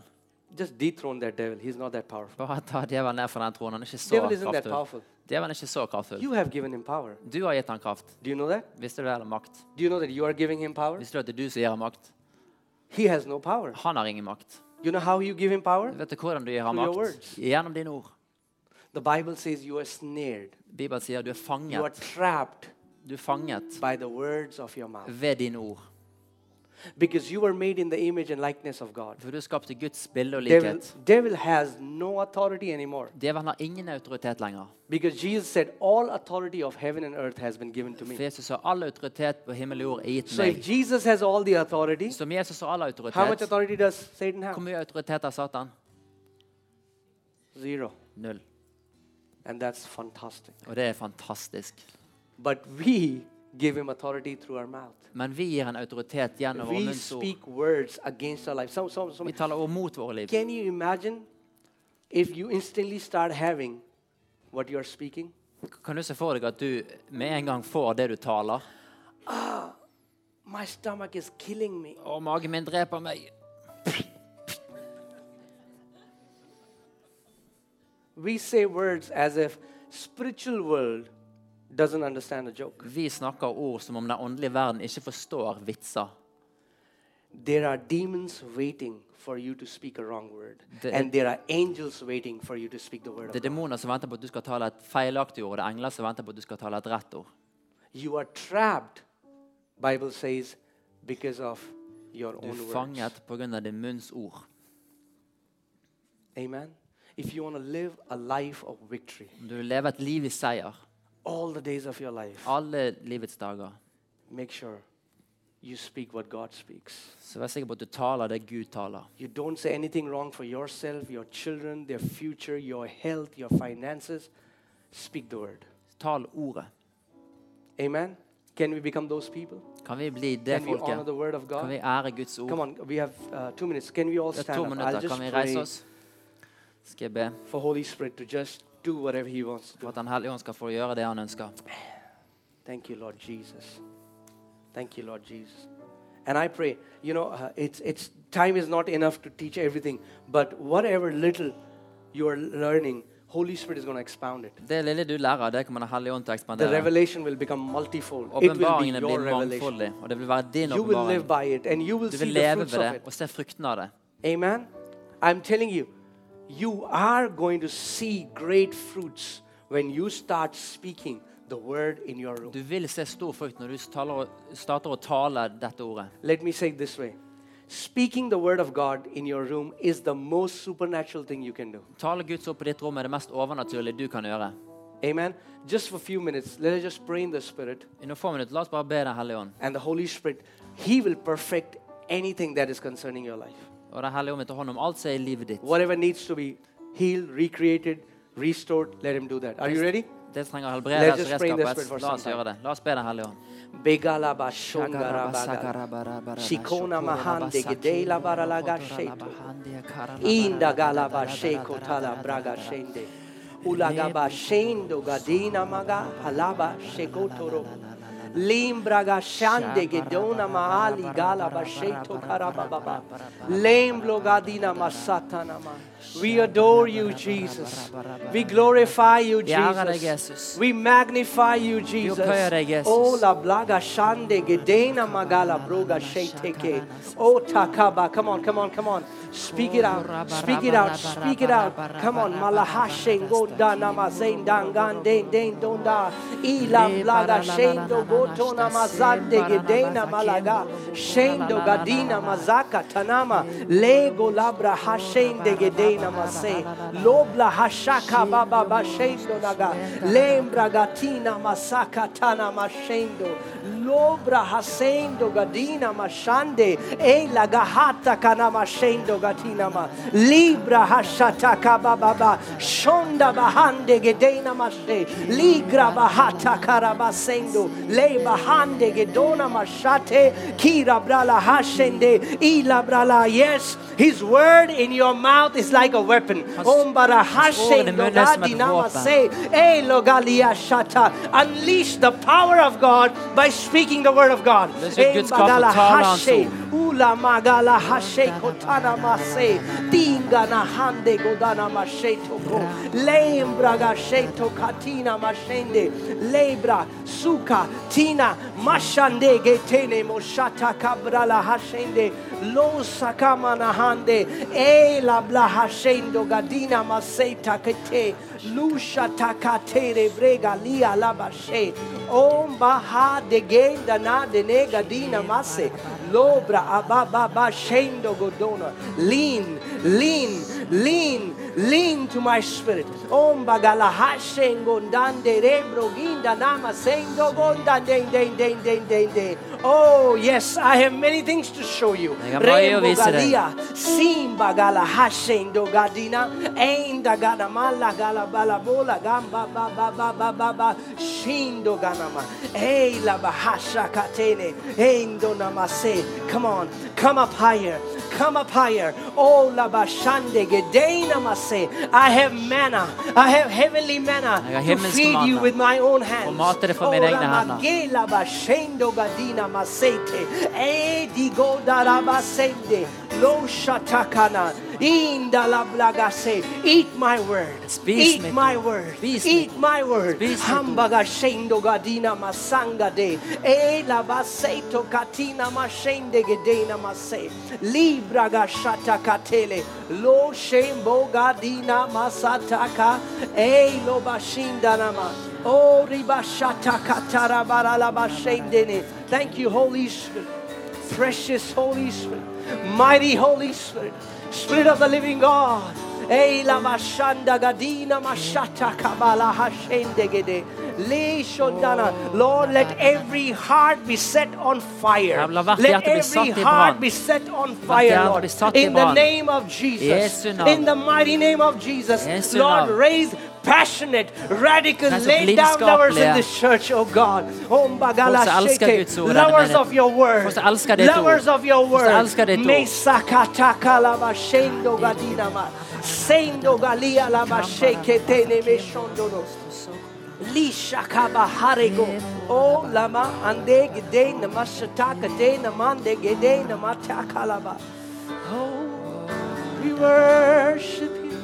[SPEAKER 1] Just dethrone that devil. He's not that powerful.
[SPEAKER 2] Bare ta djevelen ned fra den tronen. Han er liksom ikke så
[SPEAKER 1] devil isn't that
[SPEAKER 2] kraftfull.
[SPEAKER 1] powerful.
[SPEAKER 2] Djevelen er ikke så kraftfull.
[SPEAKER 1] You have given him power.
[SPEAKER 2] Du har gitt ham kraft.
[SPEAKER 1] Do you know that?
[SPEAKER 2] Visste du det, eller makt?
[SPEAKER 1] Do you know that you are giving him power?
[SPEAKER 2] Visste du at det er du som gir ham makt?
[SPEAKER 1] He has no power.
[SPEAKER 2] Han har ingen makt.
[SPEAKER 1] You know how you give him power?
[SPEAKER 2] Vet du hvordan du gir ham
[SPEAKER 1] Through your
[SPEAKER 2] makt?
[SPEAKER 1] words.
[SPEAKER 2] Gjennom dine ord.
[SPEAKER 1] The Bible says you are snared.
[SPEAKER 2] Bibelen sier du er
[SPEAKER 1] You are
[SPEAKER 2] fanget.
[SPEAKER 1] trapped
[SPEAKER 2] Du er fanget
[SPEAKER 1] by the words of your mouth.
[SPEAKER 2] ved dine ord.
[SPEAKER 1] Because you were made in the image and likeness of God.
[SPEAKER 2] For du er skapt i Guds bilde og
[SPEAKER 1] Devil,
[SPEAKER 2] likhet.
[SPEAKER 1] devil has no authority anymore.
[SPEAKER 2] Djevelen har ingen autoritet lenger.
[SPEAKER 1] Because Jesus said, All authority of heaven and earth has been given to
[SPEAKER 2] For
[SPEAKER 1] me.
[SPEAKER 2] Jesus har all autoritet på himmel og jord er gitt
[SPEAKER 1] So if
[SPEAKER 2] meg.
[SPEAKER 1] Jesus has all the authority,
[SPEAKER 2] Som Jesus har all
[SPEAKER 1] how much
[SPEAKER 2] autoritet.
[SPEAKER 1] authority does Satan have?
[SPEAKER 2] Hvor mye autoritet har Satan?
[SPEAKER 1] Zero.
[SPEAKER 2] Null.
[SPEAKER 1] And that's fantastic.
[SPEAKER 2] Og det er fantastisk.
[SPEAKER 1] But we give him authority through our mouth.
[SPEAKER 2] Men vi gir en autoritet gjennom vår
[SPEAKER 1] We
[SPEAKER 2] munns ord.
[SPEAKER 1] speak words against our life. Some, some, some,
[SPEAKER 2] Vi taler ord mot våre liv.
[SPEAKER 1] Can you imagine if you instantly start having what you are speaking?
[SPEAKER 2] Kan du se for deg at du med en gang får det du taler?
[SPEAKER 1] My stomach is killing me.
[SPEAKER 2] Å, magen min dreper meg.
[SPEAKER 1] We say words as if spiritual world doesn't understand a joke.
[SPEAKER 2] Vi snakker ord som om den åndelige verden ikke forstår vitser.
[SPEAKER 1] There are demons waiting for you to speak a wrong word,
[SPEAKER 2] The-
[SPEAKER 1] and there are angels waiting for you to speak the word
[SPEAKER 2] Det
[SPEAKER 1] of
[SPEAKER 2] er
[SPEAKER 1] God.
[SPEAKER 2] demoner som venter på at du skal tale et feilaktig ord, og det er engler som venter på at du skal tale et rett ord.
[SPEAKER 1] You are trapped, Bible says, because of your
[SPEAKER 2] Du er
[SPEAKER 1] own words.
[SPEAKER 2] fanget pga. din munns ord.
[SPEAKER 1] Amen. If you want to live a life of victory,
[SPEAKER 2] Om Du vil leve et liv i seier
[SPEAKER 1] all the days of your life,
[SPEAKER 2] alle livets dager.
[SPEAKER 1] make sure you speak what God speaks.
[SPEAKER 2] Så vær sikker på at du taler det Gud taler.
[SPEAKER 1] You don't say anything wrong for yourself, your children, their future, your health, your finances. Speak the word.
[SPEAKER 2] Tal ordet.
[SPEAKER 1] Amen. Can we become those people?
[SPEAKER 2] Kan vi bli det
[SPEAKER 1] Can we honor
[SPEAKER 2] folket?
[SPEAKER 1] the word of
[SPEAKER 2] Kan
[SPEAKER 1] God?
[SPEAKER 2] vi ære Guds ord?
[SPEAKER 1] Come on, we have uh, two minutes. uh, Can we all
[SPEAKER 2] Det er to
[SPEAKER 1] stand up? I'll
[SPEAKER 2] minutter.
[SPEAKER 1] just
[SPEAKER 2] Kan vi reise
[SPEAKER 1] pray
[SPEAKER 2] oss? Skal jeg be
[SPEAKER 1] for Holy Spirit to just do whatever He wants to
[SPEAKER 2] for
[SPEAKER 1] do.
[SPEAKER 2] at Den hellige ånd skal få gjøre det han ønsker.
[SPEAKER 1] Thank you, Lord Jesus. Thank you, Lord Jesus. And I pray, you know, uh, it's, it's time is not enough to teach everything, but whatever little you are learning, Holy Spirit is going to expound it.
[SPEAKER 2] Det lille du lærer, det kommer Den hellige ånd til
[SPEAKER 1] The
[SPEAKER 2] å ekspandere.
[SPEAKER 1] revelation will become multifold. It will be
[SPEAKER 2] Åpenbaringene
[SPEAKER 1] your
[SPEAKER 2] blir
[SPEAKER 1] revelation.
[SPEAKER 2] mangfoldig, og det vil være din
[SPEAKER 1] You will
[SPEAKER 2] åpenbaring.
[SPEAKER 1] live by it and you will
[SPEAKER 2] Du
[SPEAKER 1] see
[SPEAKER 2] vil
[SPEAKER 1] the
[SPEAKER 2] leve
[SPEAKER 1] fruits
[SPEAKER 2] ved
[SPEAKER 1] of
[SPEAKER 2] det
[SPEAKER 1] it.
[SPEAKER 2] og se frukten av det.
[SPEAKER 1] Amen. I'm telling you, you are going to see great fruits when you start speaking the word in your room.
[SPEAKER 2] Du vil se stor frukt når du taler, og- starter å tale dette ordet.
[SPEAKER 1] Let me say it this way Speaking the word of God in your room is the most supernatural thing you can do.
[SPEAKER 2] Tale Guds ord på ditt rom er det mest overnaturlige du kan gjøre.
[SPEAKER 1] Amen. Just for a few minutes, let us just pray in the Spirit
[SPEAKER 2] I noen få minutter, La oss bare be Den hellige ånd.
[SPEAKER 1] and the Holy Spirit, He will perfect anything that is concerning your life.
[SPEAKER 2] Og Den hellige ånd vil ta hånd om alt som er i livet ditt.
[SPEAKER 1] Whatever needs to be healed, recreated, restored, let Him do that. Are you ready?
[SPEAKER 2] Det som trenger
[SPEAKER 1] Let's
[SPEAKER 2] helbredes,
[SPEAKER 1] just pray in the spirit for
[SPEAKER 2] redskapes. La oss
[SPEAKER 1] some time.
[SPEAKER 2] gjøre det. La oss be Den hellige ånd.
[SPEAKER 1] Begalaba shongara bagala. Shikona mahande gedela baralaga sheto. Inda galaba sheko tala braga shende. Ulagaba shendo gadina maga halaba shekotoro. Limbraga shande gedona maali galaba sheto karababa. Lemblo gadina masatana ma. We adore you, Jesus. We glorify you,
[SPEAKER 2] Vi ærer deg,
[SPEAKER 1] Jesus.
[SPEAKER 2] Jesus.
[SPEAKER 1] We magnify you, Jesus.
[SPEAKER 2] upphøyer deg, Jesus.
[SPEAKER 1] Oh, la blaga shande gedena magala broga shenteke. Oh, takaba. Come on, come on, come on. Speak it out. Speak it out. Speak it out. Come on. Malaha shengo da namazen dangan den den donda. Ila blaga shendo go Tona Mazande Gedena Malaga Shendo Gadina Mazaka Tanama Lego Labra Hashende Gedena Mase Lobla Hashaka Baba Bashendo Naga Lembra Gatina Masaka Tana Mashendo Lobra Hasendo Gadina Mashande E la Gahata Kanama Shendo Gatina Ma Libra Hashata Kabababa Shonda Bahande Gedena Mashe Ligra Bahata Karabasendo Le Bahande Gedona Mashate Kira Brala Hashende Ila Brala Yes His word in your mouth is like a weapon Ombara Hashendo
[SPEAKER 2] munnen er som et
[SPEAKER 1] Gadina
[SPEAKER 2] våpen.
[SPEAKER 1] Mase E Logalia Shata Unleash the power of God by speaking the word of God Eh,
[SPEAKER 2] Løs ut Guds kraft og tale hans
[SPEAKER 1] Hashe,
[SPEAKER 2] ord.
[SPEAKER 1] Ula magala hashe kotana mase, tinga na hande godana mashe toko, lembra gashe tokatina mashende, lebra suka tina mashande getene moshata kabrala hashende, lo sakama na hande, e la bla hashendo gadina mase takete, lusha takatere brega lia labashe, om baha de genda na de nega dina masse, Lobra ababa shendo godona. Lean, lean, lean, lean to my spirit. Om bagala hashen gondande rebro ginda nama sendo gonda den den den den den den. Oh yes, I have many things to show you.
[SPEAKER 2] Jeg har mye å vise deg.
[SPEAKER 1] Galia, Simba gala hashendo gadina, enda gana mala gala bala bola gamba ba ba ba ba ba ba shindo ganama. Hey la bahasha katene, endo namase. Come on, come up higher, come up higher. Oh la bashande gedei namase. I have manna, I have heavenly manna
[SPEAKER 2] Jeg har
[SPEAKER 1] to
[SPEAKER 2] himmelsk
[SPEAKER 1] feed you
[SPEAKER 2] manna.
[SPEAKER 1] with my own hands.
[SPEAKER 2] Og mat dere for mine
[SPEAKER 1] Oh,
[SPEAKER 2] egne
[SPEAKER 1] la
[SPEAKER 2] hender.
[SPEAKER 1] Gela bashendo gadina masete. E di goda rabasende. Lo shatakana. Inda la blagase. Eat my word.
[SPEAKER 2] Spis
[SPEAKER 1] Eat
[SPEAKER 2] mitt
[SPEAKER 1] my
[SPEAKER 2] ord.
[SPEAKER 1] word.
[SPEAKER 2] Spis
[SPEAKER 1] Eat
[SPEAKER 2] mitt
[SPEAKER 1] my word.
[SPEAKER 2] Spis mitt
[SPEAKER 1] Hamba gashendo gadina masanga de. E la baseto katina mashende gedena mase. Libra gashata katele. Lo shembo gadina masataka. E lo bashinda nama. Oh, ribashata katarabara labashendene. Thank you, Holy Spirit. Precious Holy Spirit. Mighty Holy Spirit. Spirit of the living God. Ei labashanda gadina mashata kabala hashendegede. Le shodana. Lord, let every heart be set on fire.
[SPEAKER 2] Ja, la hvert
[SPEAKER 1] Let
[SPEAKER 2] hjerte bli satt
[SPEAKER 1] every
[SPEAKER 2] i
[SPEAKER 1] heart
[SPEAKER 2] brann.
[SPEAKER 1] be set on
[SPEAKER 2] hjerte
[SPEAKER 1] fire, Lord.
[SPEAKER 2] bli satt i
[SPEAKER 1] In the
[SPEAKER 2] brann.
[SPEAKER 1] name of Jesus.
[SPEAKER 2] Jesu navn.
[SPEAKER 1] In the mighty name of Jesus.
[SPEAKER 2] Jesu
[SPEAKER 1] Lord,
[SPEAKER 2] navn.
[SPEAKER 1] raise passionate, radical,
[SPEAKER 2] Den som
[SPEAKER 1] lay down lovers in
[SPEAKER 2] lidenskapelige.
[SPEAKER 1] this church, oh God. Om bagala
[SPEAKER 2] Folk som elsker
[SPEAKER 1] sheke,
[SPEAKER 2] Guds ord, denne
[SPEAKER 1] Lovers
[SPEAKER 2] menigheten.
[SPEAKER 1] of your word.
[SPEAKER 2] Folk som elsker ditt ord.
[SPEAKER 1] Lovers of your
[SPEAKER 2] Folk
[SPEAKER 1] word.
[SPEAKER 2] som elsker ditt ord.
[SPEAKER 1] Me sakataka lava shendo gadina ma. Sendo galia lava sheke tene me shondono. Lisha kaba harego. O lama ande gede namashataka de namande gede namatakalaba. Oh, we worship you.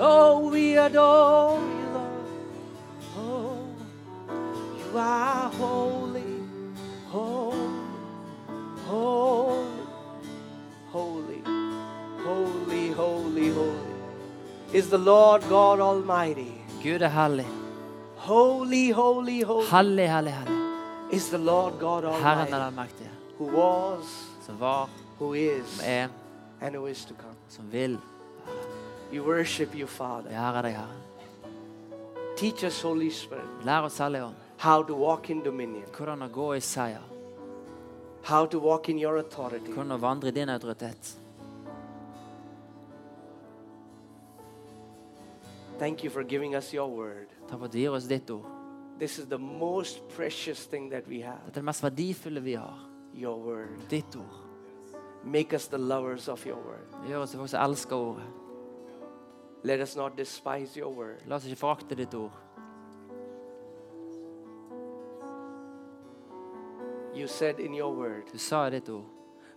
[SPEAKER 1] Oh, we adore you, Lord. Oh, you are holy, holy, holy, holy, holy, holy, holy. Is the Lord God Almighty.
[SPEAKER 2] Gud er hellig.
[SPEAKER 1] Holy, holy, holy
[SPEAKER 2] Hellig, hellig, hellig.
[SPEAKER 1] is the Lord God
[SPEAKER 2] Herren er
[SPEAKER 1] Almighty,
[SPEAKER 2] den mektige,
[SPEAKER 1] who was,
[SPEAKER 2] som var,
[SPEAKER 1] who is,
[SPEAKER 2] som er,
[SPEAKER 1] and who is to come.
[SPEAKER 2] som vil.
[SPEAKER 1] We worship you,
[SPEAKER 2] Vi
[SPEAKER 1] Father.
[SPEAKER 2] ærer deg, Herre.
[SPEAKER 1] Teach us, Holy Spirit,
[SPEAKER 2] Lær oss, Hellige Ånd,
[SPEAKER 1] how to walk in dominion,
[SPEAKER 2] hvordan å gå i seier.
[SPEAKER 1] how to walk in your authority.
[SPEAKER 2] Hvordan å vandre i din autoritet.
[SPEAKER 1] Thank you for giving us your word.
[SPEAKER 2] Takk for at du gir oss ditt ord.
[SPEAKER 1] This is the most precious thing that we have
[SPEAKER 2] Dette er det mest verdifulle vi har.
[SPEAKER 1] your word.
[SPEAKER 2] Ditt ord.
[SPEAKER 1] Make us the lovers of your word.
[SPEAKER 2] Gjør oss til folk som elsker ordet.
[SPEAKER 1] Let us not despise your word.
[SPEAKER 2] La oss ikke forakte ditt ord.
[SPEAKER 1] You said in your word,
[SPEAKER 2] Du sa i ditt ord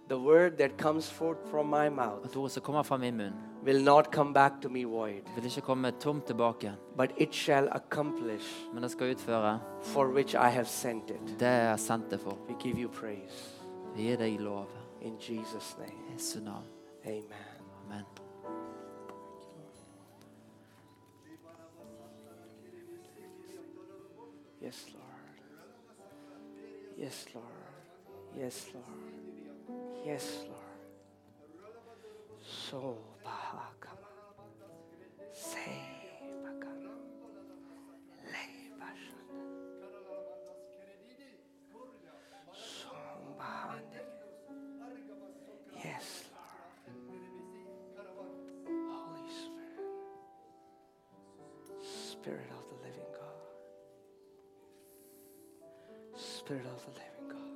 [SPEAKER 1] the word that comes forth from my mouth
[SPEAKER 2] at ordet som kommer fra min munn,
[SPEAKER 1] will not come back to me void.
[SPEAKER 2] vil ikke komme tomt tilbake,
[SPEAKER 1] but it shall accomplish
[SPEAKER 2] men det skal utføre
[SPEAKER 1] for which I have sent it.
[SPEAKER 2] det jeg har sendt det for.
[SPEAKER 1] We give you praise
[SPEAKER 2] Vi gir deg lov.
[SPEAKER 1] in Jesus' name.
[SPEAKER 2] I Jesu navn.
[SPEAKER 1] Amen.
[SPEAKER 2] Amen.
[SPEAKER 1] Yes, Lord. Yes, Lord. Yes, Lord. Yes, Lord. So bahakama. Se bakama. Le bashana. So bahandege. Yes, Lord. Holy Spirit. Spirit of the living God. Spirit of the living God,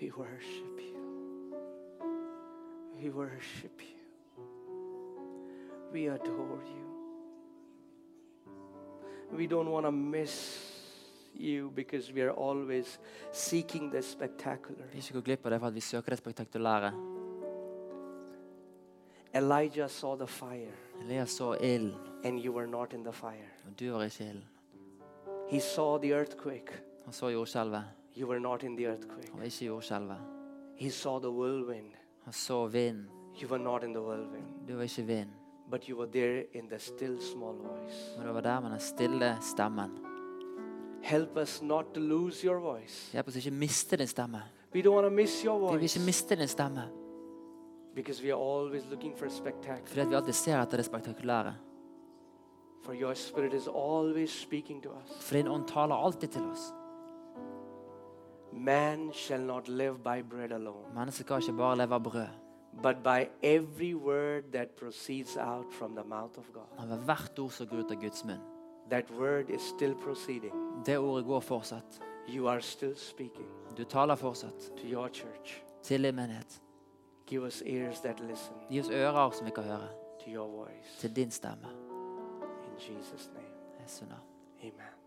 [SPEAKER 1] we worship you. We worship you. We adore you. We don't want to miss you because we are always seeking the spectacular.
[SPEAKER 2] Vi ikke går glipp av det for at vi søker det spektakulære.
[SPEAKER 1] Elijah saw the fire,
[SPEAKER 2] Elias så ilden,
[SPEAKER 1] and you were not in the fire.
[SPEAKER 2] og du var ikke i ilden.
[SPEAKER 1] He saw the earthquake,
[SPEAKER 2] Han så jordskjelvet,
[SPEAKER 1] you were not in the earthquake.
[SPEAKER 2] han var ikke i jordskjelvet.
[SPEAKER 1] He saw the whirlwind,
[SPEAKER 2] Han så vinden,
[SPEAKER 1] you were not in the whirlwind.
[SPEAKER 2] du var ikke i vinden.
[SPEAKER 1] But you were there in the still small voice.
[SPEAKER 2] Men det var der med den stille stemmen.
[SPEAKER 1] Help us not to lose your voice.
[SPEAKER 2] Hjelp oss ikke miste din stemme.
[SPEAKER 1] We don't want to miss your
[SPEAKER 2] Vi vil
[SPEAKER 1] voice
[SPEAKER 2] ikke miste din stemme,
[SPEAKER 1] because we are always looking for spectacular.
[SPEAKER 2] fordi at vi alltid ser etter det spektakulære.
[SPEAKER 1] For your spirit is always speaking to us.
[SPEAKER 2] For din ånd taler alltid til oss.
[SPEAKER 1] Man shall not live by bread alone,
[SPEAKER 2] Mennesket skal ikke bare leve av brød,
[SPEAKER 1] but by every word that proceeds out from the mouth of God.
[SPEAKER 2] men ved hvert ord som går ut av Guds munn.
[SPEAKER 1] That word is still proceeding.
[SPEAKER 2] Det ordet går fortsatt.
[SPEAKER 1] You are still speaking
[SPEAKER 2] Du taler fortsatt
[SPEAKER 1] to your church.
[SPEAKER 2] til din menighet.
[SPEAKER 1] Give us ears that listen
[SPEAKER 2] Gi oss ører som vi kan høre,
[SPEAKER 1] to your voice.
[SPEAKER 2] til din stemme.
[SPEAKER 1] In Jesus' name,
[SPEAKER 2] Jesu navn.
[SPEAKER 1] amen.